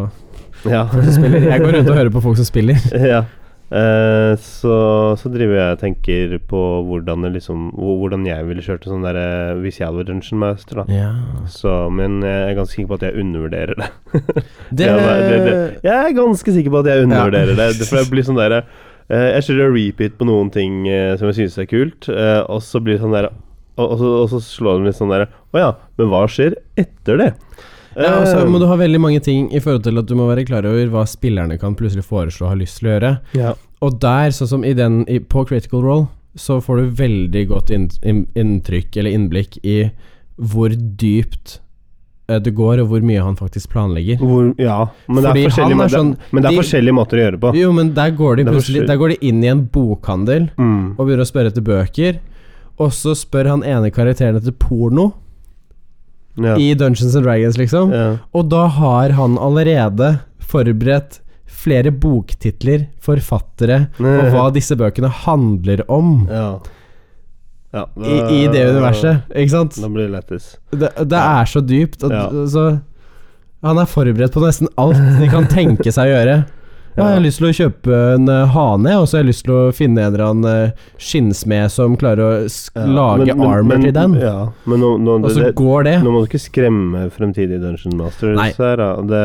A: Ja.
C: folk som spiller. Jeg går rundt og hører på folk som spiller.
A: ja. Eh, så, så driver jeg og tenker på hvordan, det liksom, hvor- hvordan jeg ville kjørt en sånn der, eh, hvis jeg hadde vært dungeon master. Da.
C: Ja.
A: Så, men jeg er ganske sikker på at jeg undervurderer det.
C: Det,
A: Ja, det- det- det- Jeg er ganske sikker på at jeg undervurderer det. det. For det blir sånn der, eh, Jeg kjører repeat på noen ting eh, som jeg synes er kult, eh, og så blir det sånn der og, og, så, og så slår det meg litt sånn der Å ja, men hva skjer etter det?
C: Ja, og så
A: Eh,
C: altså, må du ha veldig mange ting i forhold til at du må være klar over hva spillerne kan plutselig foreslå og ha lyst til å gjøre.
A: ja.
C: Og der, sånn som i den i, på Critical Role, så får du veldig godt inn, inn, inntrykk eller innblikk i hvor dypt eh, det går, og hvor mye han faktisk planlegger.
A: Hvor, ja. Men, det er
C: Fordi han
A: forskjellige,
C: er
A: måter-
C: sånn-
A: men det er
C: de-
A: forskjellige måter å gjøre det på.
C: Jo, men der går de
A: Det er
C: plutselig
A: forskjell-
C: Der går de inn i en bokhandel
A: Mm.
C: og begynner å spørre etter bøker. Og så spør han ene karakteren etter porno
A: Ja.
C: i Dungeons and Dragons, liksom.
A: Ja.
C: Og da har han allerede forberedt flere boktitler, forfattere og hva disse bøkene handler om
A: Ja. ja
C: i, i det universet, ikke sant?
A: Da blir det lættis.
C: Det, det er så dypt. Og,
A: Ja.
C: så, han er forberedt på nesten alt de kan tenke seg å gjøre. Ja, jeg har lyst til å kjøpe en eh, hane, og så har jeg lyst til å finne en eller annen eh, skinnsmed som klarer å sk
A: Ja.
C: lage
A: Men- men-
C: armor
A: men-
C: til den.
A: Ja, men nå, nå,
C: Og så
A: det,
C: går det.
A: nå må du ikke skremme fremtidige Dungeon Masters
C: Nei.
A: her, da. Det,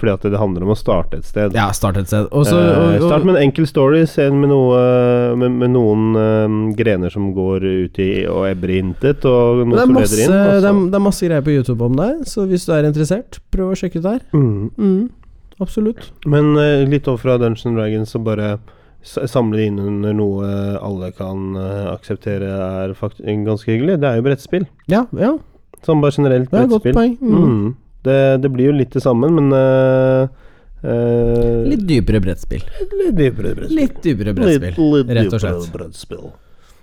A: fordi at det handler om å starte et sted.
C: Ja, start et sted. Og så
A: Eh,
C: og- og-
A: start med en enkel story, sen med, noe, med, med noen eh, grener som går ut i og ebber i intet, og noe
C: det er,
A: som
C: masse,
A: leder inn. altså. og
C: det, er,
A: så-
C: det er masse greier på YouTube om deg, så hvis du er interessert, prøv å sjekke ut der.
A: Mm.
C: Mm, absolutt.
A: Men eh, litt over fra Dungeons and Dragons og bare s- samle det inn under noe alle kan eh, akseptere er fakt ganske hyggelig. Det er jo brettspill.
C: Ja, ja
A: Sånn bare generelt
C: det er et godt
A: brettspill.
C: poeng. Mm.
A: Mm. Det, det blir jo litt det samme, men eh, eh,
C: Litt dypere brettspill.
A: litt dypere
C: Litt dypere brettspill, rett og slett.
A: brettspill.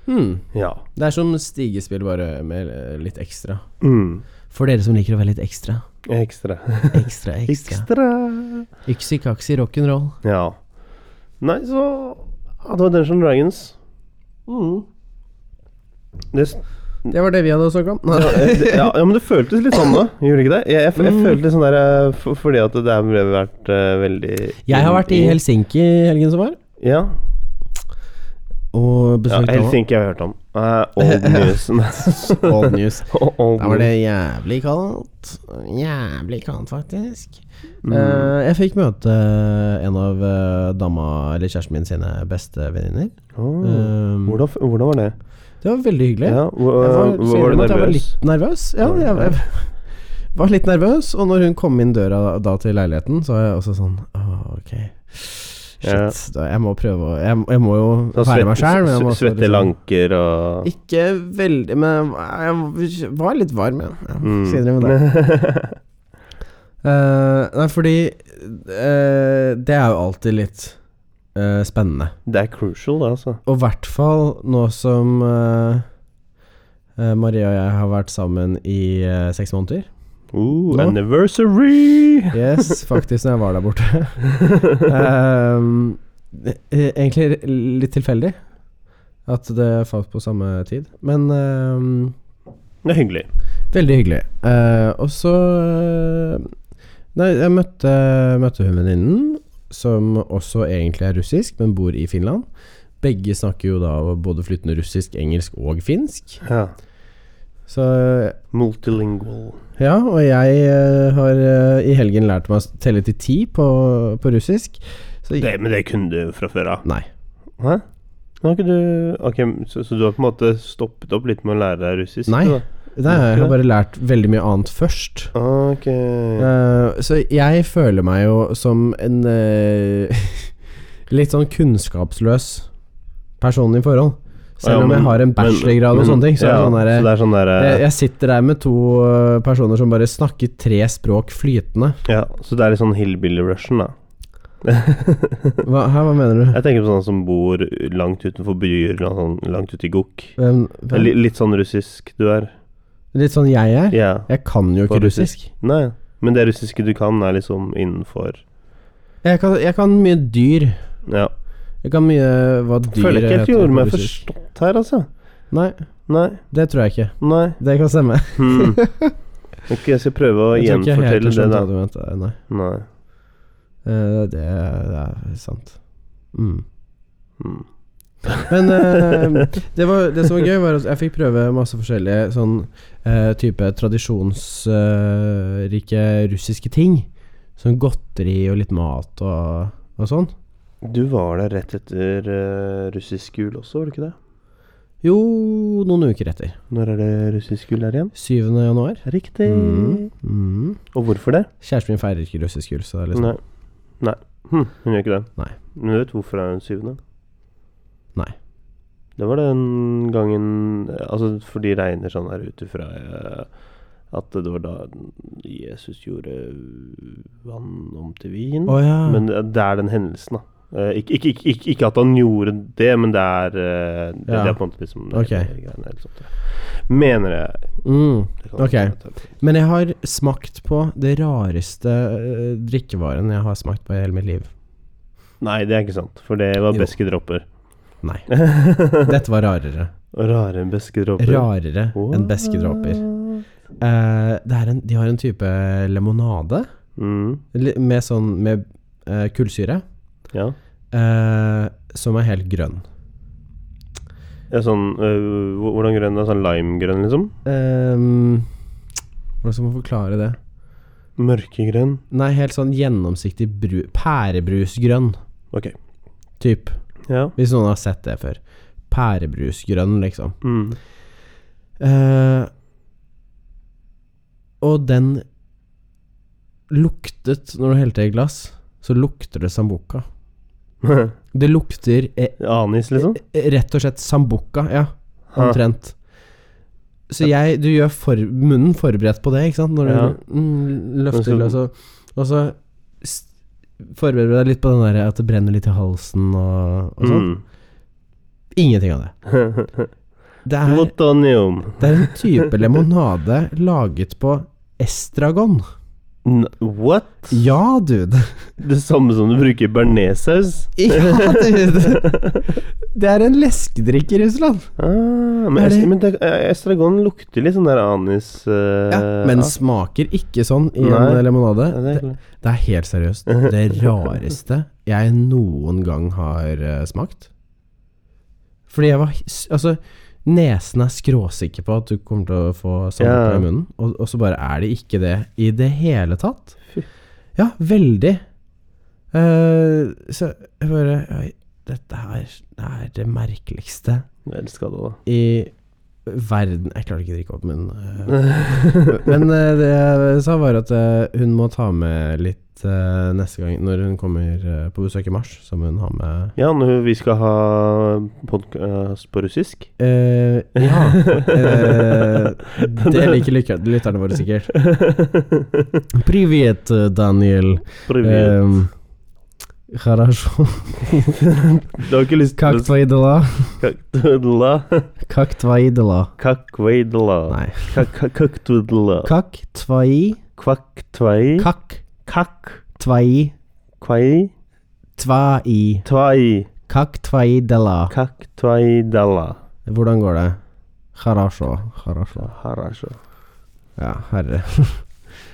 C: Mm.
A: Hmm, Ja.
C: Det er som stigespill, bare med eh, litt ekstra.
A: Mm.
C: For dere som liker å være litt ekstra.
A: Ekstra.
C: Ekstra, ekstra.
A: Ekstra.
C: Yksi kaksi rock'n'roll.
A: Ja. Nei, så ja, Det var Dungeons and Dragons. Hmm. Det s-
C: Det var det vi hadde å snakke om.
A: ja, ja, men det føltes litt sånn da. Gjorde det ikke det? Jeg, jeg,
C: Hmm.
A: jeg følte litt sånn der eh, for, Fordi at det har vært eh, veldig
C: Jeg har vært i Helsinki helgen som var,
A: Ja, ja
C: og besøkt
A: Helsinki har jeg hørt om. Eh, old news.
C: Old News.
A: old
C: Da var det
A: news.
C: jævlig kaldt. Jævlig kaldt, faktisk.
A: Mm.
C: Eh, jeg fikk møte en av eh, dama, eller kjæresten min, sine bestevenninner.
A: Åh,
C: Um,
A: Oh. hvordan, f- hvordan var det?
C: Det var veldig hyggelig.
A: Mm. Ja, hvor,
C: Jeg var,
A: hvor-
C: sier
A: var du
C: dem at Jeg var
A: nervøs?
C: litt nervøs. Ja,
A: Var du
C: jeg, jeg var litt nervøs, og når hun kom inn døra da, da til leiligheten, så var jeg også sånn Åh, ok. Shit,
A: Ja.
C: da, jeg må prøve å Jeg, jeg må jo
A: Sånn
C: være meg
A: svett-
C: sjæl, men jeg må
A: s-
C: også
A: Svette
C: liksom-
A: lanker og
C: Ikke veldig, men jeg var litt varm, ja. Jeg
A: Mm.
C: må si det med det. Eh, nei, fordi eh, Det er jo alltid litt eh, spennende.
A: Det er crucial, det, altså.
C: Og i hvert fall nå som eh, eh, Maria og jeg har vært sammen i eh, seks måneder.
A: Ooh,
C: Nå?
A: anniversary!
C: Yes, faktisk, når jeg var der borte. Ehm, det- eh, egentlig litt tilfeldig at det falt på samme tid, men ehm,
A: Det er hyggelig.
C: Veldig hyggelig. Eh, og så eh, Nei, jeg møtte, møtte hun venninnen, som også egentlig er russisk, men bor i Finland. Begge snakker jo da både flytende russisk, engelsk og finsk.
A: Ja.
C: Så eh,
A: Multilingual.
C: ja, og jeg eh, har eh, i helgen lært meg å telle til ti på, på russisk. Så
A: Det, men det kunne du fra før av.
C: Nei.
A: Hæ? Har ikke du Ok, så, så du har på en måte stoppet opp litt med å lære deg russisk?
C: Nei.
A: du da?
C: Nei, jeg har bare lært veldig mye annet først.
A: Ok
C: Eh, så jeg føler meg jo som en eh, litt sånn kunnskapsløs person i forhold.
A: Ja,
C: Selv om
A: men-
C: jeg har en bachelorgrad
A: men-
C: og sånne ting. Så er
A: ja,
C: det sånn
A: så
C: der,
A: det er sånn derre
C: jeg, jeg sitter der med to eh, personer som bare snakker tre språk flytende.
A: Ja, så det er litt sånn hillbilly-rushen, da.
C: Hva, hæ, hva mener du?
A: Jeg tenker på sånne som bor langt utenfor byer, eller sånn, langt ute i gokk.
C: Hvem, hvem?
A: Li- Litt sånn russisk du er.
C: Litt sånn jeg er.
A: Ja.
C: Jeg kan jo
A: På
C: ikke russisk.
A: Nei. Men det russiske du kan, er liksom innenfor
C: Jeg kan, jeg kan mye dyr.
A: Ja.
C: Jeg kan mye hva dyr
A: Føler ikke helt
C: heter
A: jeg
C: på
A: gjorde meg
C: russisk.
A: forstått her, altså.
C: Nei,
A: Nei.
C: det tror jeg ikke.
A: Nei.
C: Det kan stemme.
A: Hmm. Ok, jeg skal prøve å
C: Jeg tror ikke jeg helt
A: gjenfortelle
C: har
A: det,
C: skjønt
A: da.
C: hva du mente. Nei.
A: Nei.
C: Eh, det, det er sant. Mm.
A: Mm.
C: Men eh, det, var, det som var gøy, var at jeg fikk prøve masse forskjellige sånn eh, type tradisjonsrike eh, russiske ting. Sånn godteri og litt mat og, og sånn.
A: Du var der rett etter eh, russisk jul også, var du ikke det?
C: Jo, noen uker etter.
A: Når er det russisk jul der igjen?
C: 7. januar.
A: Riktig.
C: Mm. Mm.
A: Og hvorfor det?
C: Kjæresten min feirer ikke russisk jul, så det er liksom
A: Nei. Nei. Hm, hun gjør ikke det.
C: Nei.
A: Men du vet hvorfor det er den syvende?
C: Nei.
A: Det var den gangen Altså, for de regner sånn her ut ifra eh, at det var da Jesus gjorde vann om til vin.
C: Å ja.
A: Men det er den hendelsen, da. Eh, ikke, ikke, ikke, ikke, ikke at han gjorde det, men det er eh, det,
C: Ja.
A: det er på en måte liksom
C: Ok.
A: greiene, eller sånt, ja. Mener jeg.
C: mm.
A: Det kan være
C: Ok.
A: at jeg tar-
C: Men jeg har smakt på det rareste eh, drikkevaren jeg har smakt på i hele mitt liv.
A: Nei, det er ikke sant, for det var
C: Jo.
A: beske dropper.
C: Nei. Dette var rarere.
A: Rare enn beske dropper.
C: Rarere enn beskedråper. Eh, det er en, de har en type limonade
A: Mm,
C: li- med sånn med eh, kullsyre
A: ja.
C: eh, som er helt grønn.
A: ja, sånn øh, hvor- Hvordan grønn er Sånn limegrønn, liksom?
C: Ehm, hvordan skal man forklare det?
A: Mørkegrønn.
C: Nei, helt sånn gjennomsiktig bru, pærebrusgrønn
A: Ok.
C: type.
A: Ja.
C: Hvis noen har sett det før. Pærebrusgrønn, liksom.
A: Mm.
C: Eh, og den luktet Når du helte i glass, så lukter det sambuca. Det lukter eh,
A: Anis, liksom?
C: Rett og slett sambuca, ja. Eh,
A: Ha.
C: Omtrent. Så jeg Du gjør for, munnen forberedt på det, ikke sant? Når du
A: Ja.
C: mm, løfter
A: Men
C: løs og, og så s- forbereder du deg litt på den der at det brenner litt i halsen og, og sånn.
A: Mm.
C: Ingenting av det. Det er,
A: Plutonium.
C: det er en type limonade laget på estragon.
A: N what?
C: Ja, dude.
A: Det samme som du bruker i bearnéssaus?
C: Ja, dude. Det er en leskedrikk i Russland.
A: Ah, men
C: Er det-
A: est- men det- eh, estragon lukter litt sånn der anis øh,
C: Ja, men
A: ah,
C: smaker ikke sånn i
A: Nei.
C: en limonade.
A: ja, det er klart.
C: Det er helt seriøst det rareste jeg noen gang har eh, smakt. Fordi jeg var s- Altså, nesen er skråsikker på at du kommer til å få sambuca
A: Ja.
C: i munnen, og, og så bare er det ikke det i det hele tatt.
A: Fy.
C: Ja, veldig. Eh, så jeg bare oi, Dette her er det merkeligste
A: Jeg elsker det, da.
C: i verden Jeg klarer ikke å drikke opp munnen. eh, men eh, det jeg sa var at eh, hun må ta med litt eh, neste gang når hun kommer eh, på besøk i mars, så må hun ha med
A: Ja, når vi skal ha podkast på russisk.
C: Eh, Ja. eh, det liker lykke- lytterne våre sikkert. Privet, eh, Daniel.
A: Privet.
C: Ehm, Хорошо.
A: Du har ikke lyst
C: Как твои дела?
A: Kaktvudla.
C: Как твои дела?
A: Kakveidla.
C: Nei.
A: Kaktvudla.
C: Как твои
A: Kvaktvei.
C: Как
A: Kakk.
C: твои
A: Kvei.
C: Твои
A: Tvei.
C: Как твои дела?
A: Kaktveiidala.
C: Hvordan går det? Хорошо. Хорошо.
A: Harasho.
C: Ja, herre.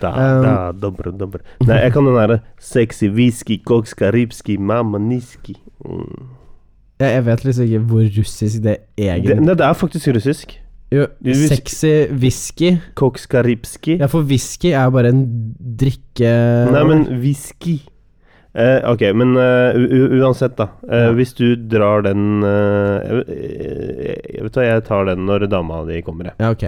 A: Da,
C: Um,
A: da, dobre, dobre. Nei, jeg kan den derre sexy whisky, kokska ripski, mamma niski. Mm.
C: Jeg, jeg vet liksom ikke hvor russisk det
A: Det,
C: egentlig
A: nei, det er faktisk russisk.
C: Jo,
A: Du, hvis-
C: Sexy whisky.
A: Kokska ripski.
C: Ja, for whisky er bare en drikke...
A: Nei, men whisky. Eh, ok, men eh, u u uansett, da. Eh,
C: Ja.
A: Hvis du drar den eh, jeg, jeg, jeg Vet du hva, jeg tar den når dama di kommer, jeg.
C: Ja, ok.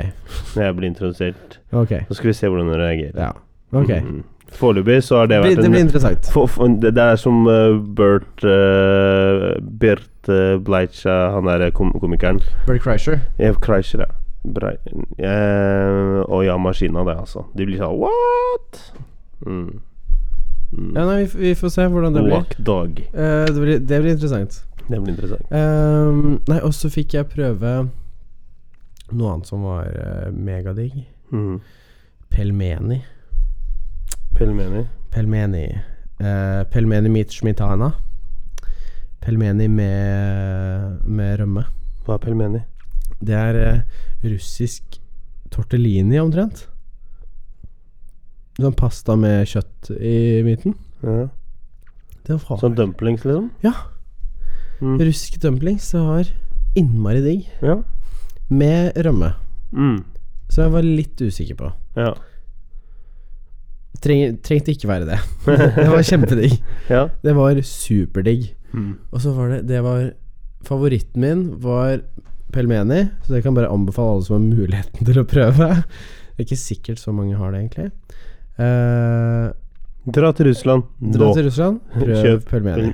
A: Når jeg blir introdusert.
C: Ok.
A: Så skal vi se hvordan hun reagerer.
C: Ja. Ok.
A: Mm. Foreløpig så har det
C: Det blir,
A: vært
C: det blir
A: en
C: interessant.
A: for, for, det, det er som eh, Bert eh, Bert eh, Bleicha, han der eh, kom komikeren.
C: Bert Kreischer.
A: Ev Kreischer, ja. Brei, eh, og ja, maskina, det, altså. De blir sånn What?! Mm. Mm.
C: Ja, nei, vi, f- vi får se hvordan det blir.
A: Walk dog.
C: Eh, det, blir det blir interessant.
A: Det blir interessant.
C: Ehm, nei, og så fikk jeg prøve noe annet som var eh, megadigg.
A: Mm.
C: Pelmeni.
A: Pelmeni.
C: Pelmeni. Eh, pelmeni mit smitana. Pelmeni med, med rømme.
A: Hva er pelmeni?
C: Det er eh, russisk tortellini omtrent. Sånn pasta med kjøtt i midten.
A: Ja.
C: Det var faen.
A: Sånn dumplings, liksom?
C: Ja.
A: Mm.
C: Rusk dumplings jeg har innmari digg.
A: Ja.
C: Med rømme.
A: Mm.
C: Så jeg var litt usikker på.
A: Ja.
C: Treng, trengte ikke være det. det var kjempedigg.
A: ja.
C: Det var superdigg.
A: Mm.
C: Og så var det Det var Favoritten min var pelmeni, så det kan bare anbefale alle som har muligheten til å prøve. Det er ikke sikkert så mange har det, egentlig. Eh,
A: Dra til Russland
C: dra
A: nå.
C: til Russland, prøv
A: Kjøp
C: pelmeni.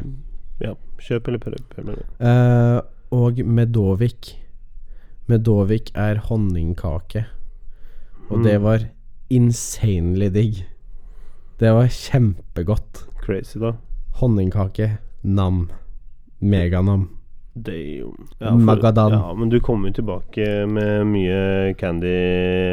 A: Ja. Kjøp eller prøv. prøv eller.
C: Eh, og medovik. Medovik er honningkake. Og det
A: Mm.
C: var insanely digg. Det var kjempegodt.
A: Crazy, da.
C: Honningkake, nam. Meganam.
A: Damn.
C: Magadan.
A: Ja, men du kom jo tilbake med mye candy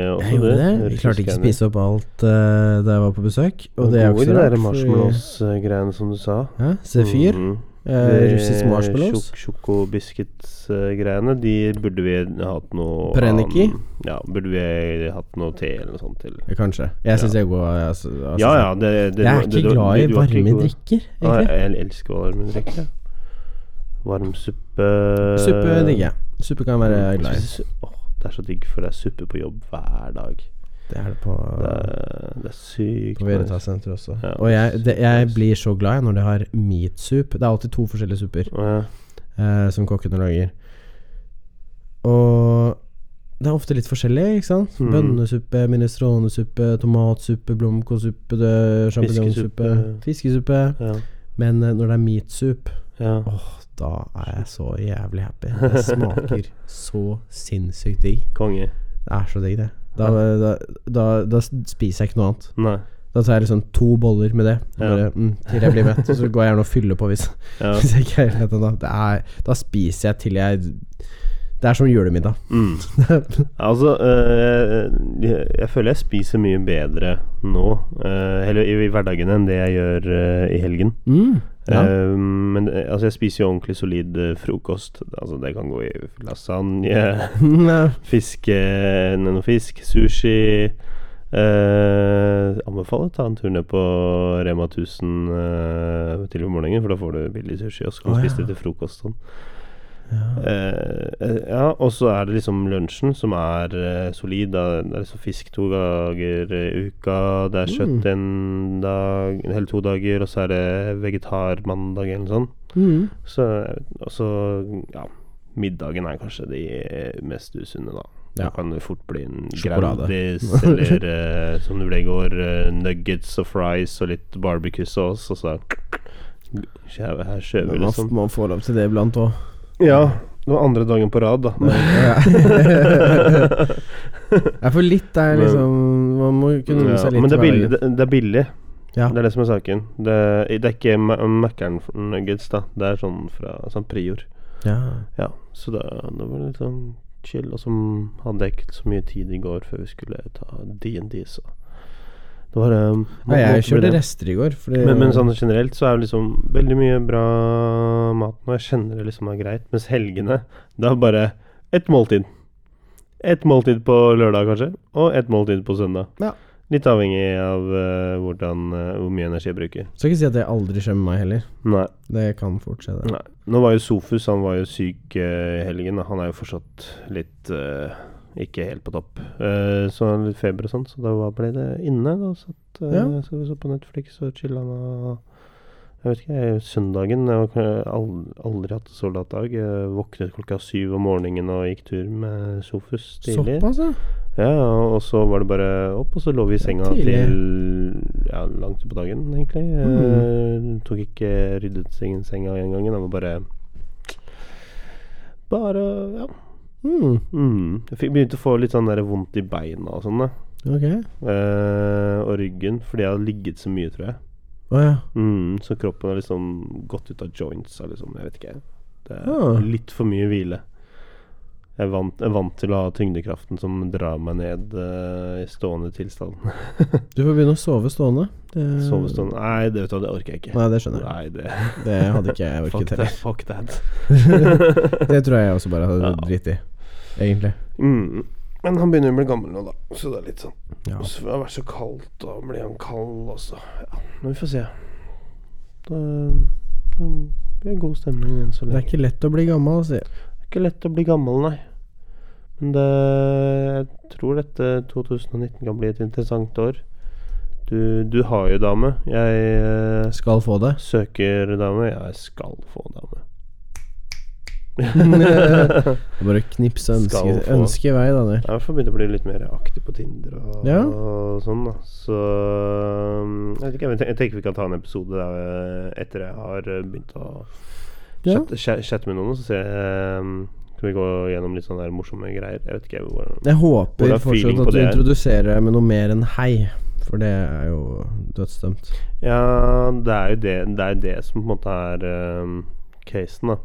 A: også.
C: Jeg gjorde det.
A: Russisk
C: Vi klarte ikke å
A: candy.
C: spise opp alt eh, da jeg var på besøk. Og det er jo
A: gode
C: ikke så
A: de
C: rart.
A: der
C: fordi-
A: marshmallows-greiene som du sa.
C: Hæ? Sefyr?
A: Mm.
C: eh,
A: De
C: russisk marshmallows?
A: sjok- Sjokobiscuits-greiene, de burde vi hatt noe
C: Preniki?
A: annen- Ja, burde vi hatt noe te eller noe sånt til.
C: Kanskje. Jeg syns jeg er god. Jeg, altså,
A: Ja ja, det, det
C: jeg er
A: det- det-
C: ikke glad i
A: du var ikke
C: varme
A: god.
C: drikker,
A: Nei,
C: egentlig.
A: jeg elsker varme drikke. Varm suppe
C: Suppe digger jeg. Suppe kan jeg være glad i.
A: Spise su- Åh, det er så digg, for det er suppe på jobb hver dag.
C: Det er det på,
A: Det er, det er sykt
C: på
A: nice.
C: Veritas-senteret også.
A: Ja.
C: og jeg, det, jeg blir så glad jeg når de har meatsup. Det er alltid to forskjellige supper
A: Å, ja.
C: eh, som kokkene lager. Og det er ofte litt forskjellig, ikke sant?
A: Mm.
C: Bønnesuppe, minestronesuppe, tomatsuppe, blomkålsuppe, det- sjampinjongsuppe,
A: Fiskesuppe.
C: fiskesuppe.
A: Ja.
C: Men eh, når det er meatsup,
A: Ja.
C: åh, da er jeg så jævlig happy. Det smaker så sinnssykt digg.
A: Konge.
C: Det er så digg, det. Da, da, da, da spiser jeg ikke noe annet.
A: Nei.
C: Da tar jeg liksom to boller med det.
A: Ja.
C: Bare, mm, til jeg blir mett. Og så går jeg gjerne og fyller på hvis,
A: Ja.
C: hvis jeg ikke er helt ennå. Det er- Da spiser jeg til jeg Det er som julemiddag.
A: Mm. Altså, øh, jeg, jeg føler jeg spiser mye bedre nå, øh, eller i, i hverdagen, enn det jeg gjør øh, i helgen.
C: Mm, ja.
A: Eh, men eh, altså, jeg spiser jo ordentlig solid eh, frokost. Altså, det kan gå i lasagne,
C: Nei,
A: fiske, noe fisk, sushi. Eh, anbefaler å ta en tur ned på Rema 1000 eh, tidlig på morgenen, for da får du billig sushi, og så kan du
C: Å, ja.
A: spise det til frokost. Sånn.
C: ja.
A: Eh, eh, ja, og så er det liksom lunsjen som er eh, solid. Da. Det er liksom fisk to dager i uka, det
C: Mm.
A: er kjøtt en dag, eller to dager, og så er det vegetarmandag eller noe sånt.
C: Mm.
A: Så, og så ja, middagen er kanskje de mest usunne, da. Det
C: Ja.
A: kan jo fort bli en
C: Sjokolade.
A: Grandis, eller eh, som det ble i går, eh, nuggets og fries og litt barbecue-saus, og så Skjæve- Her skjøver
C: Men
A: det
C: man,
A: sånn.
C: man får lov til det iblant òg.
A: Ja, det var andre dagen på rad, da.
C: Ja, for litt er liksom Man må kunne unne
A: Ja,
C: seg litt.
A: men det er
C: hver dag.
A: billig. Det, det er billig.
C: Ja.
A: Det er det som er saken. Det, det er ikke Ma- Mækkern nuggets, da. Det er sånn fra sånn prior.
C: Ja.
A: Ja, så da, da var det litt sånn chill. Og så hadde jeg ikke så mye tid i går før vi skulle ta DND, så det var um,
C: Nei, jeg kjørte rester i går. Fordi,
A: Men, men sånn generelt så er det liksom veldig mye bra mat nå. Jeg kjenner det liksom er greit. Mens helgene, det er bare ett måltid. Ett måltid på lørdag, kanskje, og ett måltid på søndag.
C: Ja.
A: Litt avhengig av eh, hvordan, eh, hvor mye energi jeg bruker.
C: Skal ikke si at det aldri skjer med meg heller.
A: Nei.
C: Det kan fortsette.
A: Nei. Nå var jo Sofus han var jo syk eh, i helgen. da. Han er jo fortsatt litt eh, ikke helt på topp. Eh, så han hadde litt feber og sånn, så da var- ble det inne. Da satt eh,
C: Ja.
A: så, så på Netflix og chilla han og Jeg vet ikke, jeg, søndagen Jeg har aldri, aldri hatt så lat dag. Jeg våknet klokka syv om morgenen og gikk tur med Sofus tidlig.
C: Såpass, ja.
A: Ja, og og så var det bare opp, og så lå vi i senga
C: tidlig.
A: til ja, langt utpå dagen, egentlig. Eh, tok ikke ryddet sengen, senga en gang, det var bare Bare ja.
C: Mm,
A: Mm. Jeg fikk, begynte å få litt sånn der vondt i beina og sånn, da.
C: ok.
A: Eh, og ryggen, fordi jeg hadde ligget så mye, tror jeg.
C: Å ja.
A: Mm, så kroppen har liksom gått ut av joints, eller liksom, jeg vet ikke. Det er
C: Ah.
A: litt for mye hvile. Jeg er, vant, jeg er vant til å ha tyngdekraften som drar meg ned eh, i stående tilstand.
C: Du får begynne å sove stående. Det...
A: Sovestående Nei, det vet du, hva, det orker jeg ikke.
C: Nei, det skjønner jeg.
A: Nei, det
C: Det hadde ikke jeg
A: Fuck
C: orket
A: that.
C: heller.
A: Fuck that.
C: Det tror jeg jeg også bare hadde
A: Ja.
C: dritt i, egentlig.
A: Mm. Men han begynner å bli gammel nå, da. Så det er litt sånn.
C: Ja.
A: Og så har det vært så kaldt, da blir han kald også. Ja, men vi får se. Da, da Det er god stemning enn så
B: Det er
A: lenge.
B: ikke lett å bli gammel,
C: altså.
B: si.
A: Det er ikke lett å bli gammel, nei. Men det, jeg tror dette 2019 kan bli et interessant år. Du, du har jo dame. Jeg eh,
C: Skal få det.
A: søker dame. Jeg skal få dame.
C: Det er Bare å knipse ønske,
A: Skal få.
C: ønske i vei, da, der.
A: Jeg har i hvert fall begynt å bli litt mer aktiv på Tinder og,
C: Ja.
A: og sånn, da. Så um, jeg, vet ikke, jeg ten- jeg tenker vi kan ta en episode der, eh, etter jeg har eh, begynt å
B: Ja.
A: chatte, cha- chatte med noen, og så ser jeg um, Skal vi gå gjennom litt sånne der morsomme greier? Jeg vet ikke hvordan
C: Jeg
A: Hvordan
C: håper
A: er feeling
C: fortsatt
A: på
C: at du
A: det her?
C: introduserer deg med noe mer enn hei, for det er jo dødsdømt.
A: Ja, det er jo det, det, er jo det som på en måte er um, casen, da.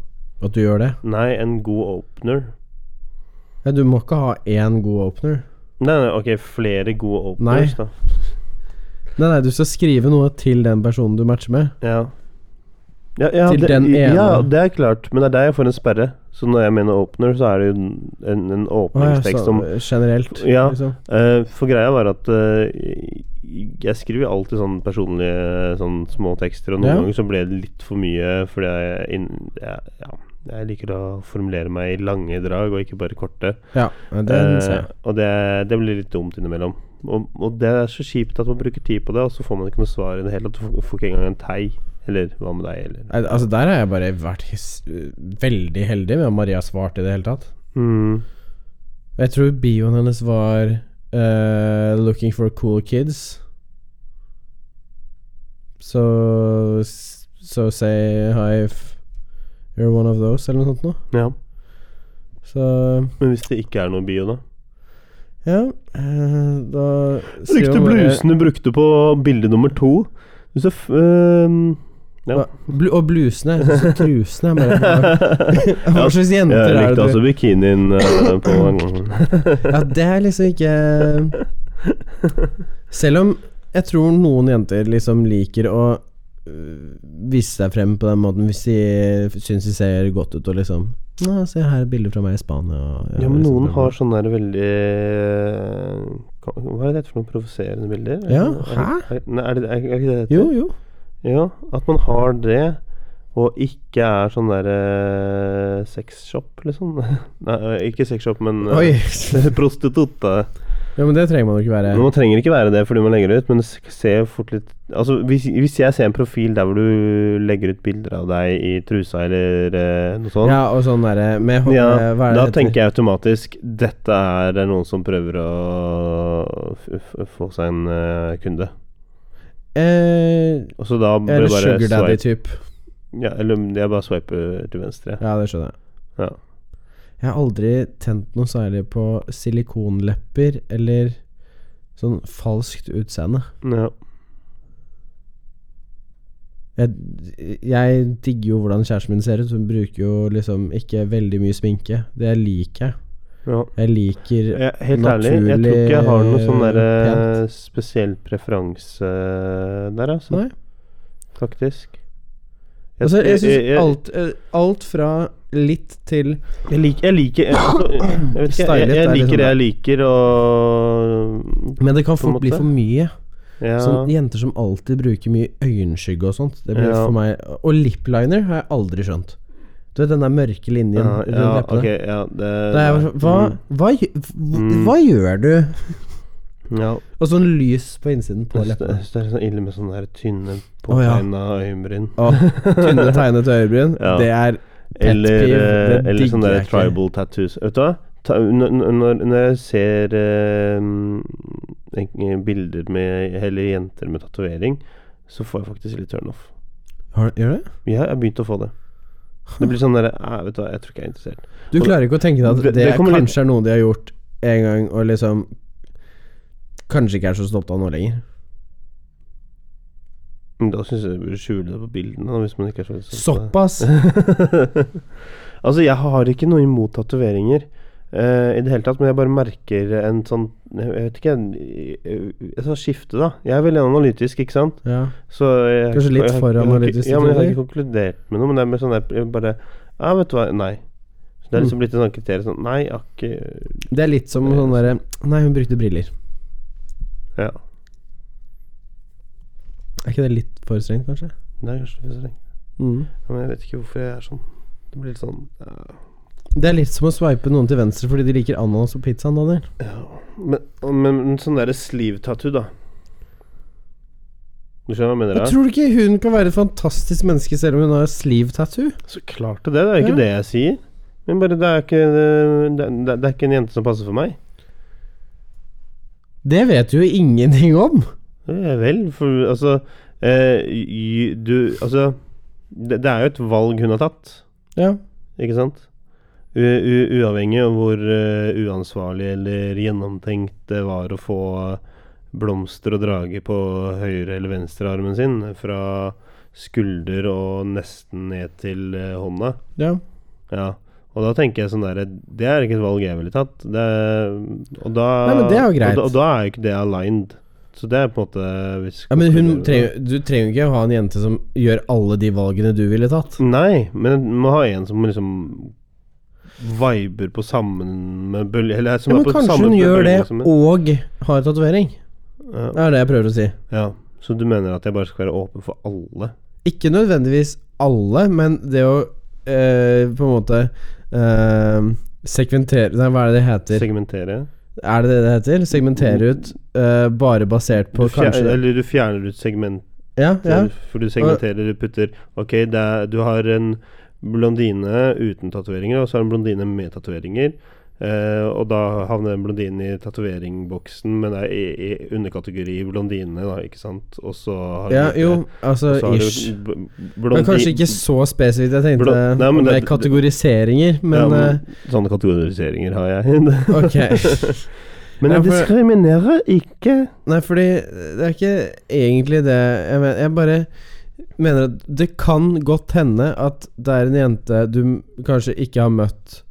C: At du gjør det.
A: Nei, en god opener.
C: Ja, du må ikke ha én god opener.
A: Nei, nei, ok, flere gode openers, da.
C: Nei, nei, du skal skrive noe til den personen du matcher med.
A: Ja. Ja, ja,
C: Til
A: det,
C: den ene.
A: ja, det er klart, men det er der jeg får en sperre. Så når jeg mener opener, så er det jo en, en
C: Å, ja,
A: åpningstekst
C: så, eh,
A: som
C: generelt,
A: Ja.
C: liksom.
A: Eh, For greia var at eh, jeg skriver jo alltid sånn personlige sånn små tekster, og noen
C: Ja.
A: ganger så ble det litt for mye fordi jeg, inn- jeg, ja, jeg liker å formulere meg i lange drag og ikke bare korte.
C: Ja, den ser jeg.
A: Eh, og det, det blir litt dumt innimellom. Og, og det er så kjipt at man bruker tid på det, og så får man ikke noe svar i det hele tatt. Du får- får ikke engang en tei. Eller hva med deg, eller
C: Nei, Altså, der har jeg bare vært his veldig heldig med at Maria svarte i det hele tatt.
A: Mm.
C: Jeg tror bioen hennes var eh, 'Looking for cool kids'. Så so say hi if you're one of those, eller noe sånt noe.
A: Ja.
C: Så
A: Men hvis det ikke er noe bio, da?
C: ja, eh, da eh, skriver
A: Brukte
C: man bare-
A: blusene brukte på bilde nummer to. Du ser f... ehm. øhm, ja.
C: Hva? Blu og blusene. jeg synes at Trusene er bare Hva
A: Ja,
C: slags jenter
A: Jeg
C: er det
A: likte
C: du
A: altså bikinien øh, på
C: Ja, det er liksom ikke Selv om jeg tror noen jenter liksom liker å øh, vise seg frem på den måten hvis de syns de ser godt ut og liksom Nå, se her er et bilde fra meg i Spania. og jeg
A: Ja, men
C: liksom
A: noen
C: den-
A: har sånne der veldig øh, Hva er det for noen provoserende bilder?
C: Ja,
A: Er- er- Nei, er, det, er, er ikke det det heter?
C: Jo, jo.
A: Ja, at man har det, og ikke er sånn der øh, sexshop, liksom. Nei, øh, ikke sexshop, men øh,
C: Oi.
A: prostitutte.
C: Ja, men det trenger man jo ikke være.
A: Men Man trenger ikke være det fordi man legger det ut, men s- se fort litt Altså, hvis, hvis jeg ser en profil der hvor du legger ut bilder av deg i trusa eller eh, noe sånt,
C: Ja, og sånn derre med hå-
A: ja,
C: hva er det
A: da
C: heter?
A: tenker jeg automatisk dette er noen som prøver å f f få seg en eh, kunde.
C: eh,
A: Og så da bør
C: Eller
A: jeg bare
C: Sugar
A: swipe
C: Daddy-type.
A: ja, Eller mm, jeg bare swiper til venstre.
C: Ja, det skjønner jeg.
A: Ja.
C: Jeg har aldri tent noe særlig på silikonlepper eller sånn falskt utseende.
A: Ja.
C: Jeg, jeg digger jo hvordan kjæresten min ser ut. Hun bruker jo liksom ikke veldig mye sminke. Det liker jeg.
A: ja.
C: Jeg liker
A: Jeg, helt ærlig, jeg tror ikke jeg har noe sånn der, eh, spesiell preferanse der, altså.
C: Nei.
A: Faktisk.
C: Altså, jeg
A: jeg-
C: syns
A: jeg-
C: alt, eh, alt fra litt til
A: Jeg liker Jeg liker, jeg, altså, jeg, vet ikke, jeg,
C: Stylet er
A: jeg
C: liksom
A: liker det
C: det.
A: jeg liker, og
C: Men det kan
A: På en
C: fort bli
A: måte.
C: for mye.
A: ja,
C: Sånn Jenter som alltid bruker mye øyenskygge og sånt. Det blir
A: Ja.
C: for meg Og lipliner har jeg aldri skjønt. Du vet den der mørke linjen
A: ja,
C: rundt
A: ja,
C: leppene.
A: ok, ja, det,
C: Da jeg var sånn hva,
A: Mm,
C: hva, gjø- hva,
A: Mm.
C: hva gjør du?
A: ja,
C: Og sånn lys på innsiden på
A: jeg synes det
C: leppene.
A: jeg synes det er sånn ille med sånne her tynne,
C: Å, ja.
A: påtegna øyenbryn.
C: Å, tynne tegnet øyebryn.
A: Ja.
C: Det er pet
A: Eller,
C: peeve,
A: eh,
C: det
A: eller sånne
C: digger
A: der
C: jeg ikke.
A: tribal tattoos. Vet du hva? Ta, når, når, når jeg ser eh, en- bilder med Eller jenter med tatovering, så får jeg faktisk litt turnoff.
C: Har, Gjør du det?
A: Ja, jeg har begynt å få det. Det blir sånn derre eh, Vet du hva, jeg tror ikke jeg er interessert.
C: Du klarer ikke å tenke deg at
A: Det-
C: det,
A: det kommer litt-
C: kanskje er noe de har gjort en gang, og liksom Kanskje ikke er så stolt av nå lenger.
A: Men Da syns jeg du burde skjule det på bildene. Da, hvis man ikke er så stolt
C: Såpass!
A: av det. altså, jeg har ikke noe imot tatoveringer eh, i det hele tatt, men jeg bare merker en sånn Jeg vet ikke en- Et sånt skifte, da. Jeg er veldig analytisk, ikke sant?
C: Ja.
A: Så jeg,
C: Kanskje litt
A: jeg har-
C: for
A: jeg har ikke-
C: analytisk,
A: Ja, men jeg har
C: tror jeg.
A: ikke konkludert med noe. Men det er mer sånn der jeg bare Ja, vet du hva, nei. Så det er
C: Mm.
A: liksom blitt et sånt kriterium sånn Nei, jeg har ikke
C: Det er litt som sånn derre Nei, hun brukte briller.
A: Ja.
C: Er ikke det litt for strengt, kanskje?
A: Det er kanskje litt strengt.
C: Mm.
A: Men jeg vet ikke hvorfor jeg er sånn. Det blir litt sånn eh,
C: Det er litt som å sveipe noen til venstre fordi de liker ananas på pizzaen, Daniel.
A: ja. men, men, men sånn derre sleeve tattoo, da. Du skjønner hva jeg mener?
C: Jeg
A: da?
C: tror du ikke hun kan være et fantastisk menneske selv om hun har sleeve tattoo?
A: Så klart det, det er jo ikke
C: Ja.
A: det jeg sier. Men bare det er, ikke, det, det, det er ikke en jente som passer for meg.
C: Det vet du jo ingenting om.
A: Ja vel, for altså eh, y- Du Altså, det, det er jo et valg hun har tatt,
C: Ja.
A: ikke sant? U u uavhengig av hvor eh, uansvarlig eller gjennomtenkt det var å få blomster og drage på høyre eller venstre armen sin, fra skulder og nesten ned til eh, hånda.
C: ja.
A: Ja. Og da tenker jeg sånn der Det er ikke et valg jeg ville tatt. Det er, og da
C: Nei, men det er jo
A: Og
C: greit.
A: da, og da er jo ikke det aligned. Så det er på en måte hvis
C: Ja, men hun trenger, Du trenger jo ikke ha en jente som gjør alle de valgene du ville tatt.
A: Nei, men du må ha en som liksom viber på samme bølge Eller som
C: Ja,
A: er
C: men
A: på
C: kanskje
A: samme liksom,
C: hun gjør det
A: bølge som-
C: og har tatovering.
A: ja,
C: Det er det jeg prøver å si.
A: ja. Så du mener at jeg bare skal være åpen for alle?
C: Ikke nødvendigvis alle, men det å eh, på en måte eh, Sekventere Nei, hva er det det heter?
A: Segmentere?
C: Er det det det heter? Segmentere ut eh, bare basert
A: Mm. Du
C: på
A: fjer,
C: kanskje
A: eller du fjerner ut segment
C: Ja, ja.
A: For- For du segmenterer, du putter Ok, det er, du har en blondine uten tatoveringer, og så har du en blondine med tatoveringer. Eh, og da havner den blondinen i tatoveringboksen, men det er i, i underkategori blondine, da, ikke sant? Og så har
C: ja
A: du
C: jo, altså
A: og så har du
C: ish.
A: b- blondi-
C: Men kanskje ikke så spesifikt. Jeg tenkte
A: Blå- Nei, men
C: om det
A: det-
C: er kategoriseringer,
A: ja,
C: men eh,
A: men Sånne kategoriseringer har jeg.
C: ok.
A: men
C: Ja,
A: jeg
C: for-
A: diskriminerer ikke.
C: Nei, fordi det er ikke egentlig det jeg mener. Jeg bare mener at det kan godt hende at det er en jente du m- kanskje ikke har møtt,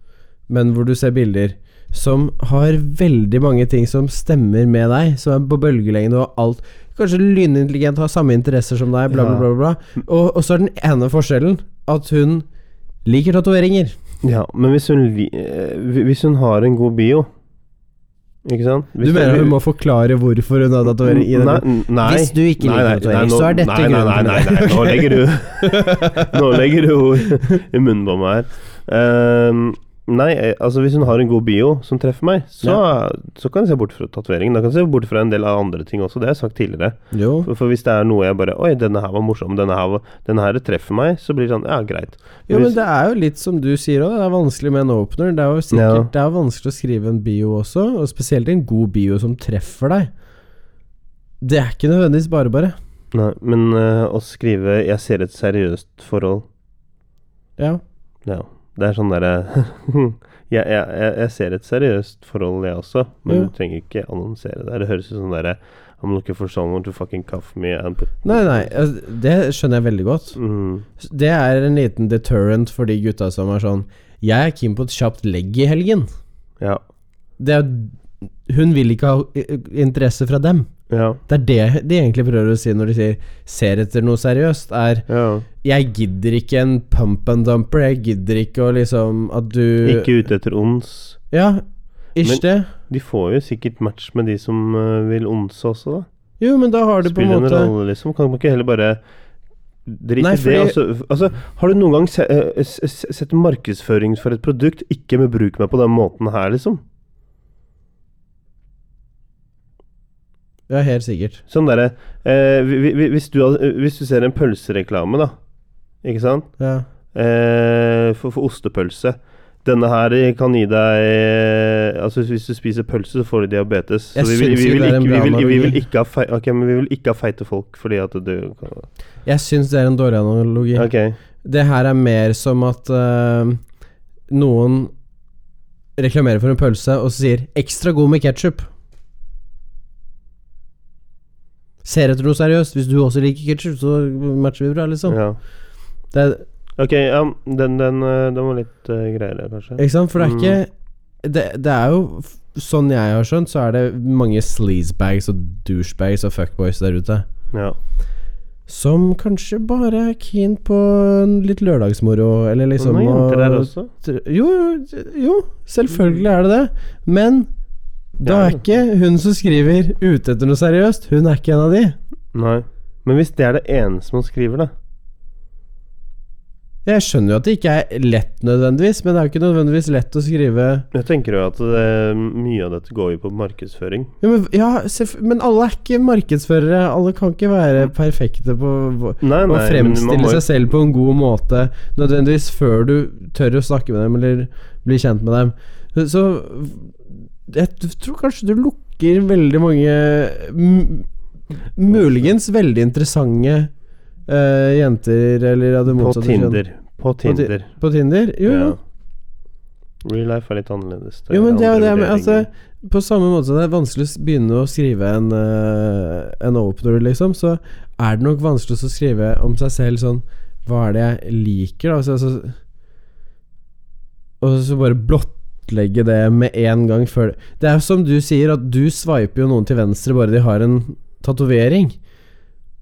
C: men hvor du ser bilder, som har veldig mange ting som stemmer med deg, som er på bølgelengde og alt. Kanskje lynintelligent, har samme interesser som deg, bla, bla, bla. bla. bla. Og, og så er den ene forskjellen at hun liker tatoveringer.
A: Ja, men hvis hun, li- eh, hvis hun har en god bio Ikke sant?
C: Du
A: Hvis
C: mener hun må forklare hvorfor hun har tatovering i den?
A: Nei, nei.
C: Hvis du ikke
A: Nei, nei,
C: liker tatovering,
A: nei, nå-
C: så er dette
A: nei, nei,
C: grunnen til
A: Nei,
C: det.
A: nei, nei, nå legger du Nå legger du ord i munnen på meg her. Ehm, nei, eh, altså hvis hun har en god bio som treffer meg, så, så kan jeg se bort fra tatoveringen. Da kan jeg se bort fra en del av andre ting også, det har jeg sagt tidligere.
C: Jo.
A: For, for hvis det er noe jeg bare Oi, denne her var morsom, denne her, var- denne her treffer meg, så blir det sånn Ja, greit.
C: Jo, men
A: hvis,
C: det er jo litt som du sier òg, det er vanskelig med en opener. Det er jo sikkert
A: Ja.
C: det er vanskelig å skrive en bio også, og spesielt en god bio som treffer deg. Det er ikke nødvendigvis bare bare.
A: nei, men eh, å skrive 'Jeg ser et seriøst forhold'
C: Ja.
A: Ja. Det er sånn derre jeg, jeg, jeg, jeg ser et seriøst forhold, jeg også, men
C: Ja.
A: du trenger ikke annonsere det. Det høres ut som derre I'm looking for someone to fucking cuff me and put
C: Nei, nei, altså, det skjønner jeg veldig godt.
A: Mm.
C: Det er en liten deterrent for de gutta som er sånn Jeg er keen på et kjapt legg i helgen.
A: Ja.
C: Det er, hun vil ikke ha eh, interesse fra dem.
A: Ja.
C: Det er det de egentlig prøver å si når de sier 'ser etter noe seriøst', er
A: ja.
C: Jeg gidder ikke en pump and dumper. Jeg gidder ikke å liksom At du
A: Ikke ute etter ons.
C: Ja, ish
A: Men-
C: det.
A: De får jo sikkert match med de som eh, vil onse også, da.
C: Jo, men da har du på en
A: Spiller en
C: måte
A: rolle, liksom. Kan man ikke heller bare drite
C: Nei,
A: i det?
C: fordi-
A: Altså, altså, har du noen gang se, eh, s- s- sett markedsføring for et produkt ikke med 'bruk meg på den måten her', liksom?
C: Ja, helt sikkert.
A: Sånn derre eh, vi- vi- hvis, du hadde- hvis du ser en pølsereklame, da. Ikke sant?
C: Ja.
A: Eh, for, for ostepølse. Denne her kan gi deg eh, Altså Hvis du spiser pølse, så får du diabetes. Så
C: Jeg
A: vi, vi,
C: syns
A: vi,
C: ikke
A: vil
C: det er
A: ikke,
C: en
A: vi,
C: bra
A: vil, vi, vil
C: analogi.
A: ikke ha fei, ok, men vi vil ikke ha feite folk fordi at du kan
C: Jeg syns det er en dårlig analogi.
A: Ok.
C: Det her er mer som at eh, noen reklamerer for en pølse og så sier 'ekstra god med ketsjup'. Ser etter noe seriøst. Hvis du også liker ketsjup, så matcher vi bra, liksom.
A: Ja.
C: Det er,
A: Ok, ja, den, den, eh, den var litt eh, greiere, kanskje.
C: Ikke sant? For det er
A: Mm.
C: ikke det, det er jo f- Sånn jeg har skjønt, så er det mange sleazebags og douchebags og fuckboys der ute.
A: Ja.
C: Som kanskje bare er keen på en litt lørdagsmoro, eller
A: Og
C: liksom
A: noen jenter der
C: å-
A: også.
C: Jo, jo, jo, selvfølgelig er det det. Men da
A: Ja.
C: er ikke hun som skriver ute etter noe seriøst, hun er ikke en av de.
A: Nei. Men hvis det er det eneste man skriver, da
C: Jeg skjønner jo at det ikke er lett nødvendigvis, men det er jo ikke nødvendigvis lett å skrive
A: Jeg tenker jo at det, mye av dette går jo på markedsføring.
C: Ja, men, ja, selvf- men alle er ikke markedsførere. Alle kan ikke være perfekte på hva-
A: Nei, nei,
C: å
A: men man
C: fremstille
A: må jo-
C: seg selv på en god måte, nødvendigvis før du tør å snakke med dem eller bli kjent med dem. Så jeg tror kanskje du lukker veldig mange m- Muligens veldig interessante eh, jenter eller av det
A: På
C: motsatte kjønn.
A: Tinder. På
C: ti-
A: Tinder.
C: På Tinder? Jo, jo.
A: Ja. Real life er litt annerledes.
C: Jo, men det er jo
A: andre
C: det med
A: vurderinger.
C: altså, På samme måte som det er vanskelig å s- begynne å skrive en, eh, en opener, liksom, så er det nok vanskelig å skrive om seg selv sånn Hva er det jeg liker, da? Altså, altså, og så bare blottlegge det med en gang før det- Det er jo som du sier, at du sveiper jo noen til venstre bare de har en tatovering.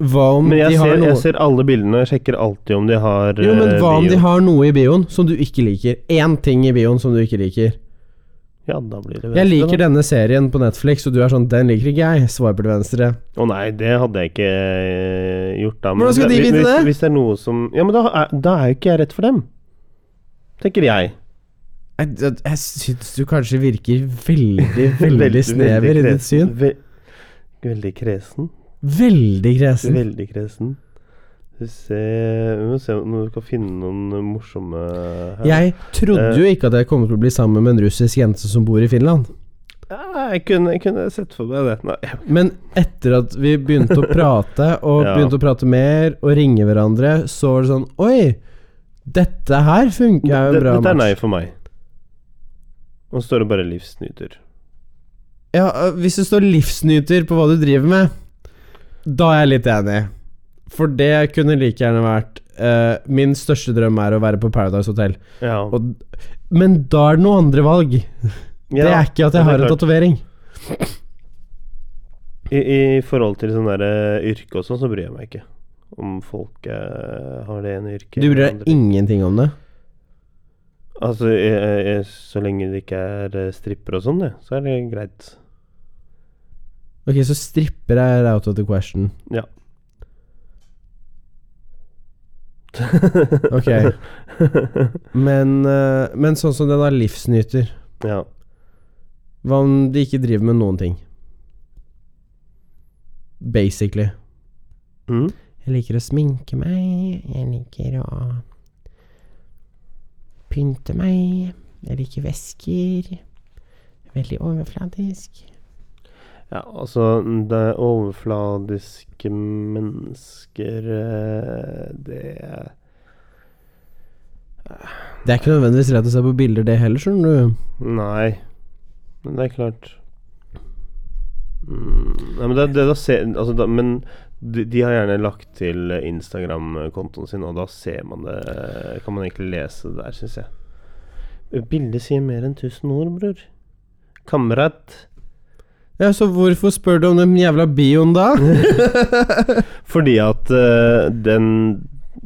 C: Hva om
A: Men
C: de
A: jeg
C: har
A: ser,
C: noe
A: jeg ser alle bildene, og jeg sjekker alltid om de har
C: Jo, men
A: eh,
C: hva om
A: bio.
C: de har noe i bioen som du ikke liker? Én ting i bioen som du ikke liker.
A: Ja, da blir det
C: Jeg liker denne serien på Netflix, og du er sånn 'Den liker ikke jeg'. Swiper til venstre.
A: Å nei, det hadde jeg ikke eh, gjort da. men
C: Hvordan skulle de
A: hvis-
C: vite
A: hvis,
C: det?
A: Hvis det er noe som Ja, men da er, da er jo ikke jeg rett for dem. Tenker jeg.
C: Jeg, jeg, jeg syns du kanskje virker veldig, veldig
A: Veldig-
C: snever i
A: veldig
C: ditt syn.
A: kresen. Ve veldig kresen.
C: Veldig kresen.
A: Veldig kresen. Skal vi se Vi må se om du kan finne noen morsomme her.
C: Jeg trodde jo ikke at jeg kom til å bli sammen med en russisk jente som bor i Finland.
A: Ja, jeg, kunne, jeg kunne sett for meg det. Nei, jeg
C: Men etter at vi begynte å prate, og
A: Ja.
C: begynte å prate mer, og ringe hverandre, så var det sånn Oi! Dette her funker jo
A: Det-
C: bra.
A: Dette er nei
C: match.
A: for meg. Og så står det bare 'livsnyter'.
C: Ja, øh, hvis det står livsnyter på hva du driver med, da er jeg litt enig. For det kunne like gjerne vært øh, Min største drøm er å være på Paradise Hotel.
A: Ja.
C: Og, men da er det noen andre valg. det
A: Ja,
C: er ikke at
A: det er
C: jeg har en
A: klart.
C: tatovering.
A: I, I forhold til sånn der, eh, yrke og sånn, så bryr jeg meg ikke om folk eh, har det ene yrket
C: Du bryr
A: eller
C: deg
A: andre.
C: ingenting om det.
A: Altså, jeg, jeg, så lenge det ikke er eh, stripper og sånn, det, så er det greit.
C: Ok, så stripper er out of the question.
A: Ja.
C: Ok. Men, øh, men sånn som den har livsnyter.
A: ja.
C: Hva om de ikke driver med noen ting? Basically.
A: Mm.
C: Jeg liker å sminke meg. Jeg liker å pynte meg. Jeg liker væsker. Veldig overflatisk.
A: ja, altså det er Overfladiske mennesker eh, Det
C: Det er ikke nødvendigvis rett å se på bilder, det heller, skjønner du.
A: Nei, men det er klart mm, Nei, men det, det da ser altså da, Men de, de har gjerne lagt til Instagram-kontoen sin, og da ser man det Kan man egentlig lese det der, syns jeg. Bildet sier mer enn tusen ord, bror. Kamerat.
C: Ja, Så hvorfor spør du om den jævla bioen da?
A: Fordi at eh, den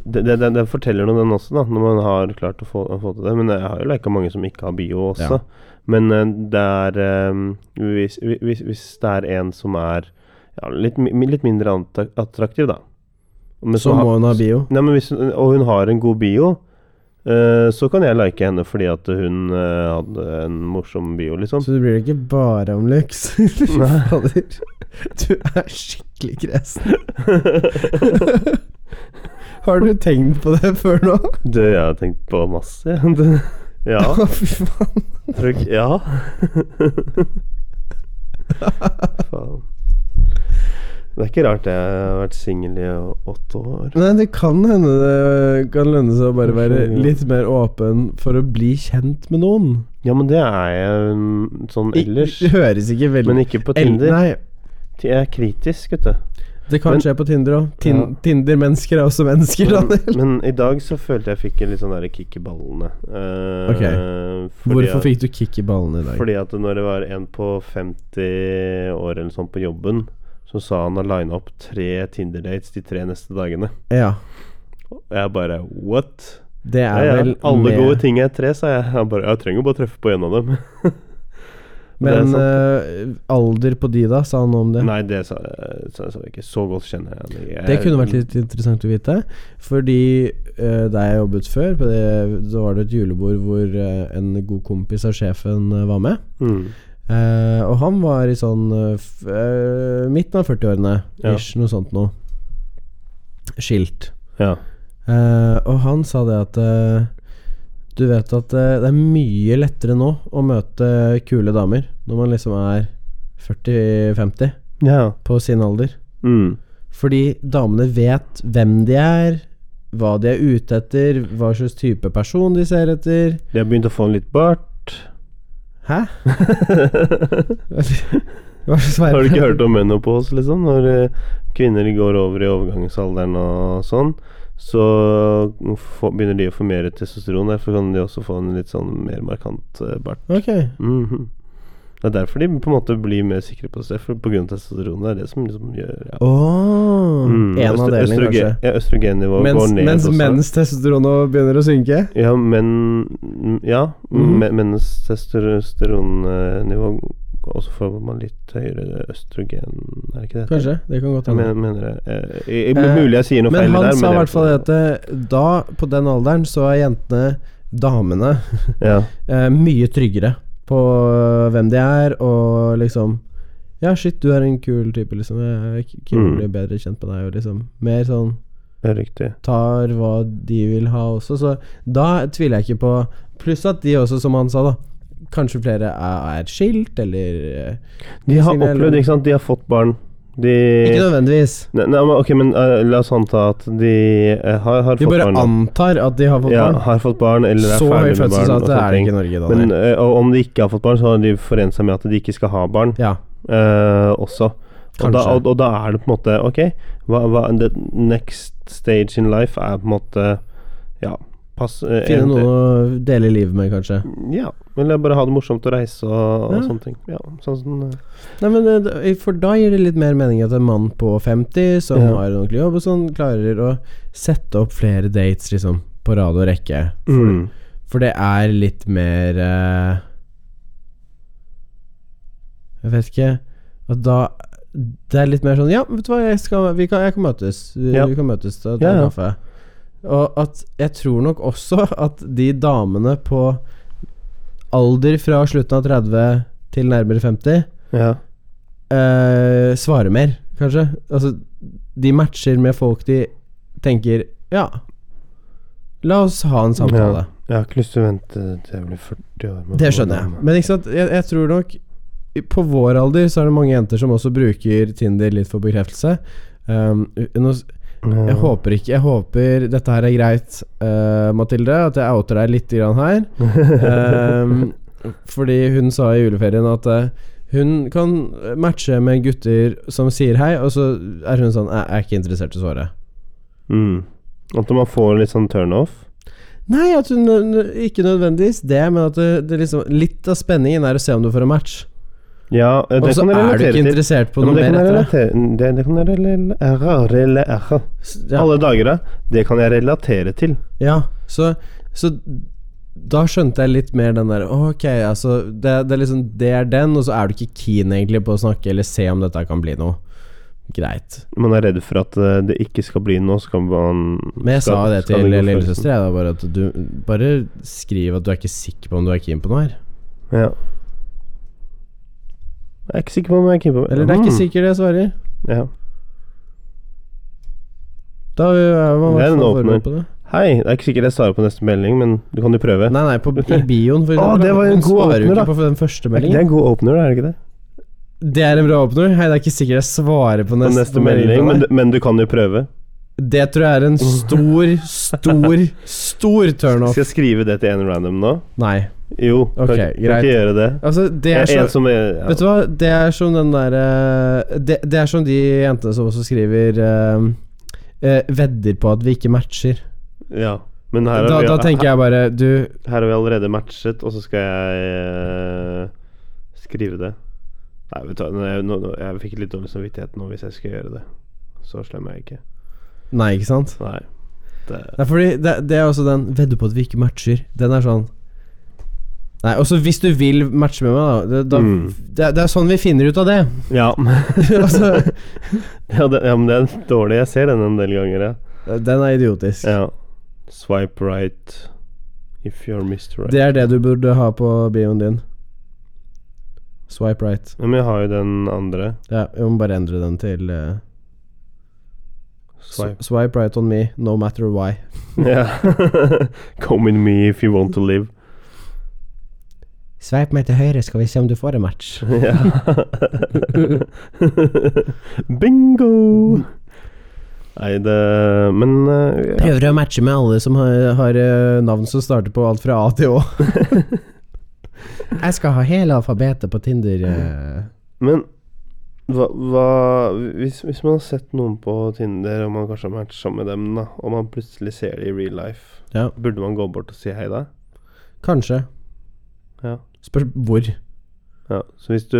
A: det, det, det, det forteller noe, den også, da, når man har klart å få, å få til det. Men jeg har jo leka mange som ikke har bio også.
C: Ja.
A: Men eh, det er eh, hvis, hvis, hvis det er en som er ja, litt, mi- litt mindre anta- attraktiv, da Men
C: Så må hun ha bio.
A: Nei, men hvis, Og hun har en god bio, eh, så kan jeg like henne fordi at hun eh, hadde en morsom bio, liksom.
C: Så du bryr deg ikke bare om looks. Fy fader. Du er skikkelig kresen. Har du tenkt på det før nå?
A: Du, jeg har tenkt på masse. ja,
C: Fy faen.
A: tror ikke Ja. Faen. Det er ikke rart jeg har vært singel i åtte år.
C: Nei, det kan hende det kan lønne seg å bare være
A: Kanskje, ja.
C: litt mer åpen for å bli kjent med noen.
A: Ja, men det er jeg mm, sånn
C: I-
A: ellers.
C: Det høres ikke veldig
A: Men ikke på
C: El-
A: Tinder.
C: Nei,
A: Jeg er kritisk, vet du.
C: det kan
A: Men-
C: skje på Tinder òg. Tin
A: Ja.
C: Tinder-mennesker er også mennesker,
A: Men,
C: Daniel.
A: men i dag så følte jeg fikk en litt sånn der kick i ballene. Eh,
C: Ok.
A: fordi
C: Hvorfor
A: at-
C: fikk du kick i ballen i dag?
A: Fordi at når det var en på 50 år eller sånn på jobben, så sa han har lina opp tre Tinder-dates de tre neste dagene.
C: Ja,
A: Og jeg bare what?
C: det er
A: Ja, ja.
C: vel
A: Alle
C: med-
A: gode ting er tre, sa jeg. Jeg, bare, jeg trenger jo bare å treffe på en av dem. Det er
C: Men
A: sant,
C: eh, alder på de, da? Sa han noe om det?
A: Nei, det sa, sa, sa jeg ikke. Så godt kjenner jeg henne. Jeg-
C: Det kunne vært litt interessant å vite. Fordi eh, der jeg jobbet før, på det, så var det et julebord hvor eh, en god kompis av sjefen eh, var med.
A: mm.
C: Eh, og han var i sånn eh, f eh, midten av 40-årene,
A: Ja.
C: ish, noe sånt noe. Skilt.
A: Ja.
C: Eh, og han sa det at eh, Du vet at eh, det er mye lettere nå å møte kule damer når man liksom er 40-50
A: ja.
C: på sin alder.
A: Mm.
C: Fordi damene vet hvem de er, hva de er ute etter, hva slags type person de ser etter.
A: De har begynt å få en litt bart.
C: Hæ?
A: har
C: Hva slags verden?
A: du ikke hørt om menopause, liksom? Når eh, kvinner går over i overgangsalderen og sånn, så få, begynner de å få mer testosteron. Derfor kan de også få en litt sånn mer markant eh, bart.
C: Ok.
A: Mhm. Det er derfor de på en måte blir mer sikre på seg, for på grunn av testosteron. Det er det som liksom gjør ja.
C: Åh
A: Mm,
C: En
A: østro-
C: avdeling,
A: østrogen-
C: kanskje.
A: Ja, østrogennivået går
C: Mens,
A: ned
C: mens,
A: også.
C: mens testosteronet begynner å synke?
A: Ja, men Ja,
C: Mhm.
A: me- mens testosteronnivå Og så får man litt høyere østrogen Er det ikke det?
C: Kanskje. Det kan godt
A: Jeg
C: hende.
A: mener, mener det. Eh, jeg- jeg-
C: Eh,
A: mulig jeg sier noe feil
C: Men
A: der.
C: han sa i
A: jeg-
C: hvert fall at eh, da, på den alderen, så er jentene, damene,
A: Ja.
C: eh, mye tryggere på eh, hvem de er, og liksom Ja, shit, du er en kul type, liksom. Jeg er kul,
A: Mm.
C: blir bedre kjent med deg, og liksom Mer sånn
A: det er Riktig.
C: tar hva de vil ha også, så da tviler jeg ikke på Pluss at de også, som han sa, da Kanskje flere er, er skilt, eller eh,
A: De har
C: Signal-
A: opplevd, ikke sant? De har fått barn. De
C: Ikke nødvendigvis.
A: Nei, nei, men, ok, men eh, la oss anta at de eh, har, har
C: Vi
A: fått
C: bare
A: barn.
C: antar at de har fått
A: ja,
C: barn.
A: har fått barn eller er
C: Så høy
A: ferdig med barn. og
C: fødselsrate
A: sånne
C: er det
A: ting.
C: ikke i Norge,
A: Men,
C: Daniel.
A: eh, og om de ikke har fått barn, så har de forent seg med at de ikke skal ha barn.
C: ja,
A: eh, også. Og da,
C: Kanskje.
A: og, og da er det på en måte Ok, hva, hva, the next stage in life er på en måte Ja, pass eh,
C: finne
A: egentlig-
C: noen å dele livet med, kanskje.
A: Ja, eller bare ha det morsomt å reise og, og
C: Ja.
A: sånne ting. Ja, sånn som eh,
C: Nei, men eh, For da gir det litt mer mening at en mann på 50 som
A: Ja.
C: har en ordentlig jobb og sånn, klarer å sette opp flere dates liksom på rad og rekke. For,
A: mm.
C: for det er litt mer eh, Jeg vet ikke At da Det er litt mer sånn Ja, vet du hva, jeg, skal, vi kan, jeg kan møtes. Vi,
A: Ja.
C: vi kan møtes og ta
A: Ja, ja.
C: kaffe. Og at jeg tror nok også at de damene på alder fra slutten av 30 til nærmere 50
A: Ja.
C: eh, svarer mer, kanskje. Altså, de matcher med folk de tenker Ja, la oss ha en samtale.
A: Jeg har ikke lyst til å vente til jeg blir 40 år. med
C: Det
A: å få
C: skjønner jeg.
A: barn.
C: Men ikke sant, jeg, jeg tror nok i- På vår alder så er det mange jenter som også bruker Tinder litt for bekreftelse. Um, nå, s-
A: Ja.
C: jeg håper ikke Jeg håper dette her er greit, eh, Mathilde, at jeg outer deg litt grann her. Ehm, fordi hun sa i juleferien at eh, hun kan matche med gutter som sier hei, og så er hun sånn Jeg er ikke interessert i svaret.
A: mm. At man får litt sånn turnoff.
C: Nei, at hun ikke nødvendigvis det, men at det, det liksom Litt av spenningen er å se om du får en match.
A: Ja, eh,
C: Og
A: det
C: så
A: kan jeg
C: er du
A: relatere
C: ikke
A: til.
C: interessert på
A: Ja, men
C: noe
A: det,
C: mer
A: kan jeg
C: etter det.
A: relatere- det, det kan jeg relatere- relatere.
C: S- Ja,
A: Alle dager, da. Det kan jeg relatere til.
C: ja. Så, så da skjønte jeg litt mer den der Ok, altså det, det er liksom Det er den, og så er du ikke keen egentlig på å snakke eller se om dette kan bli noe. Greit.
A: Man er redd for at eh, det ikke skal bli noe, så kan man
C: Men jeg
A: skal-
C: sa det
A: skal
C: til
A: gå for-
C: lillesøster, jeg, da, bare at du Bare skriv at du er ikke sikker på om du er keen på noe her.
A: Ja. Jeg er ikke sikker på om jeg er keen på
C: Eller det er ikke
A: Mm,
C: sikkert jeg svarer.
A: Ja.
C: Da er man i
A: Det er en
C: hvert fall
A: åpner.
C: forberedt på det.
A: Hei, det er ikke sikkert jeg svarer på neste melding, men du kan jo prøve.
C: Nei, nei, på, i bioen, for
A: Å, det var en
C: Han
A: god
C: svarer jo
A: åpner, da.
C: ikke på den første
A: det er
C: meldingen.
A: en god opener, er det ikke det?
C: Det er en bra åpner. Hei, det er ikke sikkert jeg svarer på
A: På
C: neste,
A: neste melding, men, du- men du kan jo prøve.
C: Det tror jeg er en stor, stor, stor turnoff.
A: Skal jeg skrive det til en random nå?
C: Nei.
A: Jo,
C: Ok,
A: kan, ikke- kan
C: greit.
A: ikke gjøre det.
C: Altså, det
A: En
C: er så
A: som er, ja.
C: Vet du hva, det er som den derre det, det er som de jentene som også skriver eh, eh, Vedder på at vi ikke matcher.
A: ja. Men her
C: Da,
A: har, vi,
C: da tenker jeg bare Du,
A: her har vi allerede matchet, og så skal jeg eh, skrive det. Nei, vet du hva, nå- nå, nå, jeg fikk litt dårlig samvittighet nå hvis jeg skal gjøre det. Så slem er jeg ikke.
C: nei, ikke sant?
A: Nei. Det
C: Nei, fordi det, det er også den 'vedder på at vi ikke matcher'. Den er sånn Nei, også hvis du vil matche med meg, da. Det, da
A: Mm.
C: det, det er sånn vi finner ut av det.
A: Ja,
C: altså,
A: ja, det, ja men det er dårlig. Jeg ser den en del ganger, jeg.
C: den er idiotisk.
A: Ja. Swipe right if you're Mr. Right.
C: Det er det du burde ha på bioen din. Swipe right.
A: Ja, men jeg har jo den andre.
C: Ja, jeg må bare endre den til eh,
A: Swipe.
C: swipe. swipe right on me, no matter why.
A: Ja. Come in me if you want to live.
C: Sveip meg til høyre, skal vi se om du får en match.
A: Ja. Bingo! Nei, det Men eh, ja.
C: Prøver å matche med alle som har, har eh, navn som starter på alt fra A til Å. Jeg skal ha hele alfabetet på Tinder. eh.
A: Men hva, hva hvis, hvis man har sett noen på Tinder, og man kanskje har matcha med dem, da, og man plutselig ser det i real life,
C: Ja.
A: burde man gå bort og si hei da?
C: Kanskje.
A: Ja.
C: Spør hvor.
A: Ja, så hvis du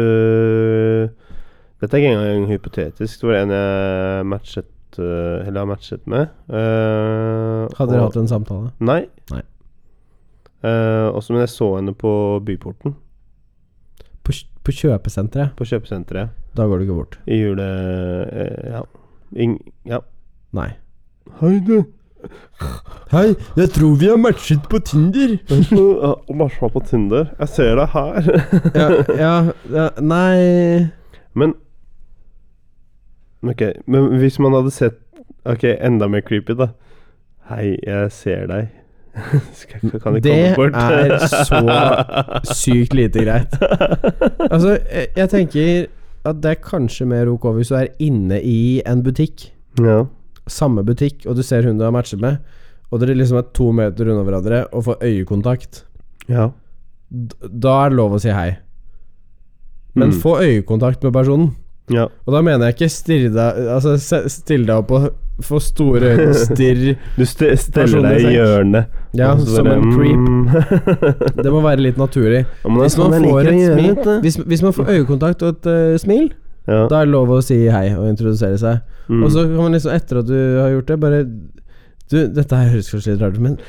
A: Dette er ikke engang hypotetisk. Det var en jeg matchet eh, Eller har matchet med. eh,
C: Hadde dere
A: og-
C: hatt en samtale?
A: Nei.
C: Nei.
A: Eh, også men jeg så henne på Byporten,
C: På, på kjøpesenteret?
A: på kjøpesenteret.
C: Da går du ikke bort.
A: I jule... eh, ja. Ing, ja.
C: Nei.
A: Hei, du.
C: Hei, jeg tror vi har matchet på Tinder!
A: Og matcha på Tinder. Jeg ser deg her.
C: ja, ja, ja, nei
A: men Ok, men hvis man hadde sett Ok, enda mer creepy, da. Hei, jeg ser deg. Skal, kan kan jeg
C: Det
A: komme bort?
C: er så Sykt lite greit. Altså, jeg, jeg tenker at det er kanskje mer ok hvis du er inne i en butikk,
A: Ja.
C: samme butikk, og du ser hun du har matchet med, og dere liksom er to meter unna hverandre og får øyekontakt.
A: ja.
C: D da er det lov å si hei. Men
A: Mm.
C: få øyekontakt med personen.
A: Ja.
C: Og da mener jeg ikke stirre deg Altså se- still deg opp og få store øyne og stirr.
A: Du st steller
C: Personlig
A: deg i
C: sekk.
A: hjørnet.
C: Ja,
A: og så
C: som
A: bare,
C: en creep.
A: mm.
C: Det må være litt naturlig.
A: Ja, men det er
C: Hvis
A: sånn
C: man
A: jeg liker å
C: får et
A: gjøre
C: smil,
A: dette.
C: hvis, hvis man får øyekontakt og et eh, smil,
A: Ja.
C: da er det lov å si hei og introdusere seg.
A: Mm.
C: Og så kan man liksom, etter at du har gjort det, bare Du, dette her høres kanskje litt rart ut, men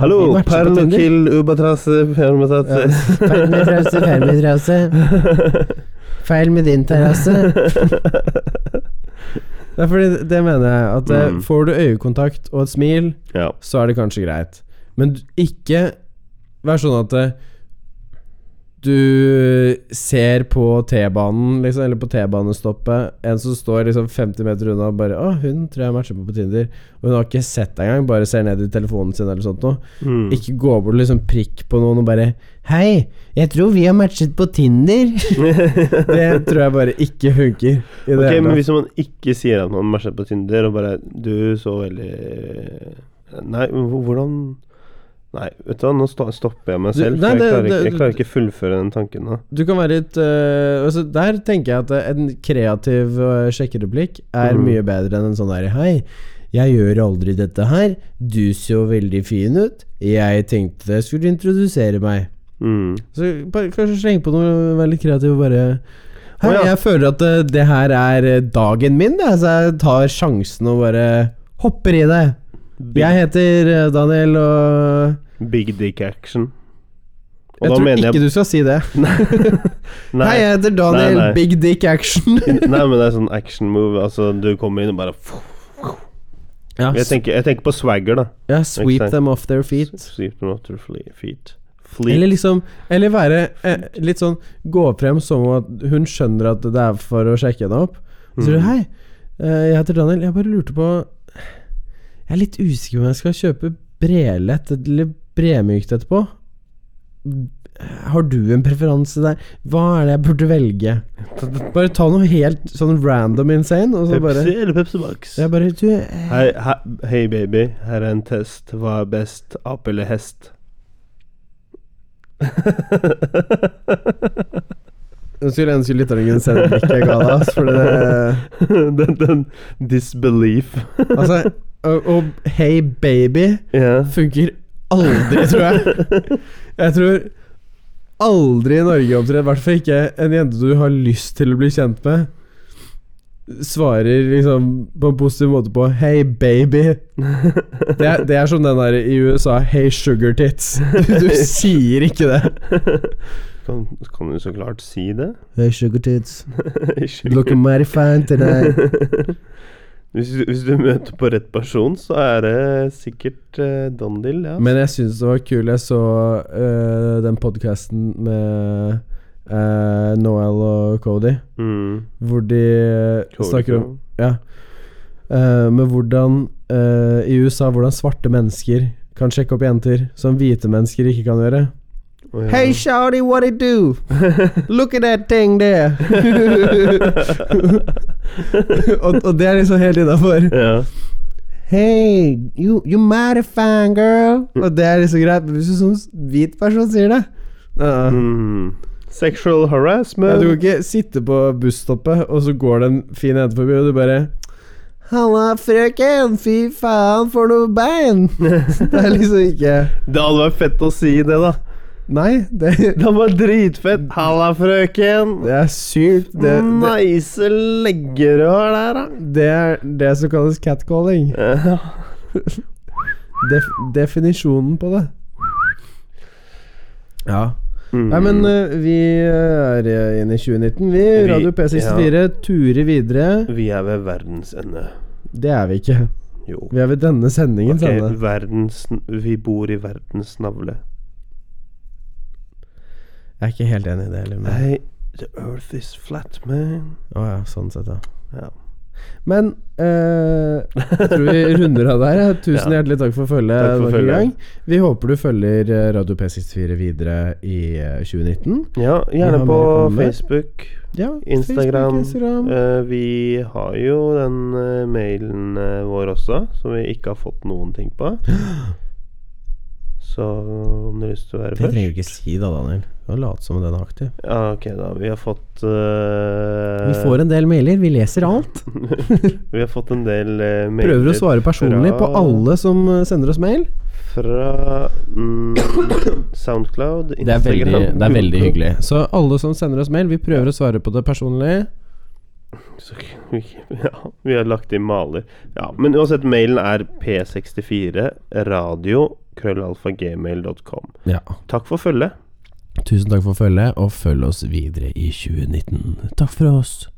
A: Hallo,
C: Vi matcher på
A: perlo
C: Tinder.
A: til eh, ubatrasse permatate.
C: Feil med terrasse, feil med terrasse. Feil med din terrasse. Det er fordi det mener jeg. At eh,
A: Mm.
C: får du øyekontakt og et smil,
A: Ja.
C: så er det kanskje greit. Men du- ikke vær sånn at eh, du ser på T-banen, liksom, eller på T-banestoppet, en som står liksom 50 meter unna og bare 'Å, hun tror jeg matcher på på Tinder', og hun har ikke sett deg engang, bare ser ned i telefonen sin eller sånt noe.
A: Mm.
C: Ikke gå bort og liksom prikk på noen og bare 'Hei, jeg tror vi har matchet på Tinder'. det tror jeg bare ikke funker. I det
A: Ok,
C: hele
A: men
C: tatt.
A: hvis man ikke sier at man matcher på Tinder, og bare Du så veldig eh, Nei, men hvor- hvordan Nei, vet du hva, nå sto- stopper jeg meg
C: Du-
A: selv. for
C: nei,
A: jeg,
C: det-
A: klarer ikke,
C: det-
A: jeg klarer ikke fullføre den tanken nå.
C: Du kan være litt øh, altså Der tenker jeg at øh, en kreativ øh, sjekkereplikk er
A: Mhm.
C: mye bedre enn en sånn der Hei, jeg gjør aldri dette her. Du så veldig fin ut. Jeg tenkte jeg skulle introdusere meg.
A: Mm.
C: Så bare, kanskje slenge på noe veldig kreativt og bare Hei,
A: Å, ja.
C: jeg føler at øh, det her er øh, dagen min, det, så jeg tar sjansen og bare hopper i det.
A: Big,
C: Jeg heter øh, Daniel, og
A: big dick action. Og
C: Jeg
A: da
C: tror
A: mener
C: ikke
A: jeg
C: du skal si det.
A: Nei,
C: Hei, jeg heter Daniel.
A: nei.
C: Big dick action.
A: nei, men det er sånn action move. Altså, du kommer inn og bare
C: ja,
A: Jeg tenker, jeg tenker på swagger, da.
C: Ja,
A: Ikke
C: sweep
A: sant?
C: them off their Altså- feet.
A: Sweep them up to fle- feet. Fleet.
C: Eller liksom Eller være eh, litt sånn Gå frem som om at hun skjønner at det er for å sjekke henne opp. Så sier du
A: Mm.
C: 'Hei, eh, jeg heter Daniel. Jeg bare lurte på Jeg er litt usikker på om jeg skal kjøpe brelett eller bremykt etterpå. Har du en preferanse der? Hva er det jeg burde velge? Bare ta noe helt sånn random insane, og så
A: Pepsi
C: bare
A: eller Pepsi Max?
C: Jeg bare Du, eh,
A: Hei, he- hei, baby, her er en test. Hva er best, ape eller hest?
C: jeg skulle ønske lytterne kunne se det blikket jeg ga deg, ass, for det
A: den, den disbelief.
C: Altså, og, og Hey Baby
A: Ja.
C: funker aldri, tror jeg. Jeg tror aldri i Norge omtrent, i hvert fall ikke en jente du har lyst til å bli kjent med, svarer liksom på en positiv måte på 'Hey, baby'. Det er, det er som den der i USA 'Hey, sugar tits'. Du sier ikke det.
A: Kan, kan du så klart si det?
C: Hey, sugar tits.
A: Ikke-
C: mighty fine
A: hvis, du- hvis du møter på rett person, så er det sikkert uh, Dondil, ja.
C: Men jeg syns det var kult. Jeg så øh, den podkasten med øh, Noel og Cody,
A: Mm.
C: hvor de øh, snakker om Ja. Eh, men hvordan eh, I USA, hvordan svarte mennesker kan sjekke opp jenter som hvite mennesker ikke kan gjøre.
A: Å, ja.
C: Hey, shawty, what it do? Look at that thing there. og, og det er liksom helt innafor.
A: Ja.
C: Hey, you, you mighty fine girl. Og det er liksom greit. Men hvis du som hvit person sier det uh,
A: Mm. Sexual
C: ja, Du kan
A: harassment.
C: ikke sitte på busstoppet, og så går det en fin jente forbi, og du bare Halla, frøken! Fy faen, for noe bein! Det er liksom ikke
A: Det hadde vært fett å si det, da.
C: Nei, det,
A: Det var dritfett. Halla, frøken.
C: det er sykt. Det, det,
A: Nice leggerør der, da.
C: det er det som kalles catcalling.
A: Ja.
C: Def, definisjonen på det. Ja.
A: Mm.
C: Nei, men eh, vi er eh, inne i 2019, vi.
A: Vi-
C: Radio P64 turer videre.
A: Vi er ved verdens ende.
C: Det er vi ikke.
A: Jo.
C: Vi er ved denne sendingen.
A: Ok,
C: Sanne.
A: verdens, vi bor i verdens navle.
C: Jeg er ikke helt enig i det heller. Men...
A: Hey, the earth is flat, man.
C: Å ja, sånn sett, ja.
A: Ja.
C: Men eh, jeg tror vi runder av der. ja. Tusen
A: Ja.
C: hjertelig takk for følget
A: Takk for
C: nok en
A: følget.
C: gang. Vi håper du følger eh, Radio P64 videre i eh, 2019.
A: Ja,
C: har
A: gjerne
C: mer å
A: på
C: komme med.
A: Facebook.
C: Ja,
A: Instagram.
C: Facebook, Instagram.
A: Eh, vi har jo den eh, mailen eh, vår også, som vi ikke har fått noen ting på. Så om du har lyst til å være
C: Det trenger
A: først
C: du ikke si, da, Daniel. Du kan late som den er aktiv.
A: Ja, ok, da. Vi har fått
C: Vi får
A: eh,
C: en del mailer. Vi leser alt.
A: Vi har fått en del eh, mailer
C: Prøver å svare personlig på
A: fra-
C: alle som eh, sender oss mail.
A: Fra mm, Soundcloud, Instagram
C: Det er veldig, det er veldig
A: Google.
C: hyggelig. Så alle som sender oss mail, vi prøver å svare på det personlig.
A: Så, ja, vi har lagt inn maler. Ja, men uansett, mailen er p64 radio krøllalfagmail.com.
C: Ja.
A: Takk for følget.
C: Tusen takk for følget, og følg oss videre i 2019. Takk for oss.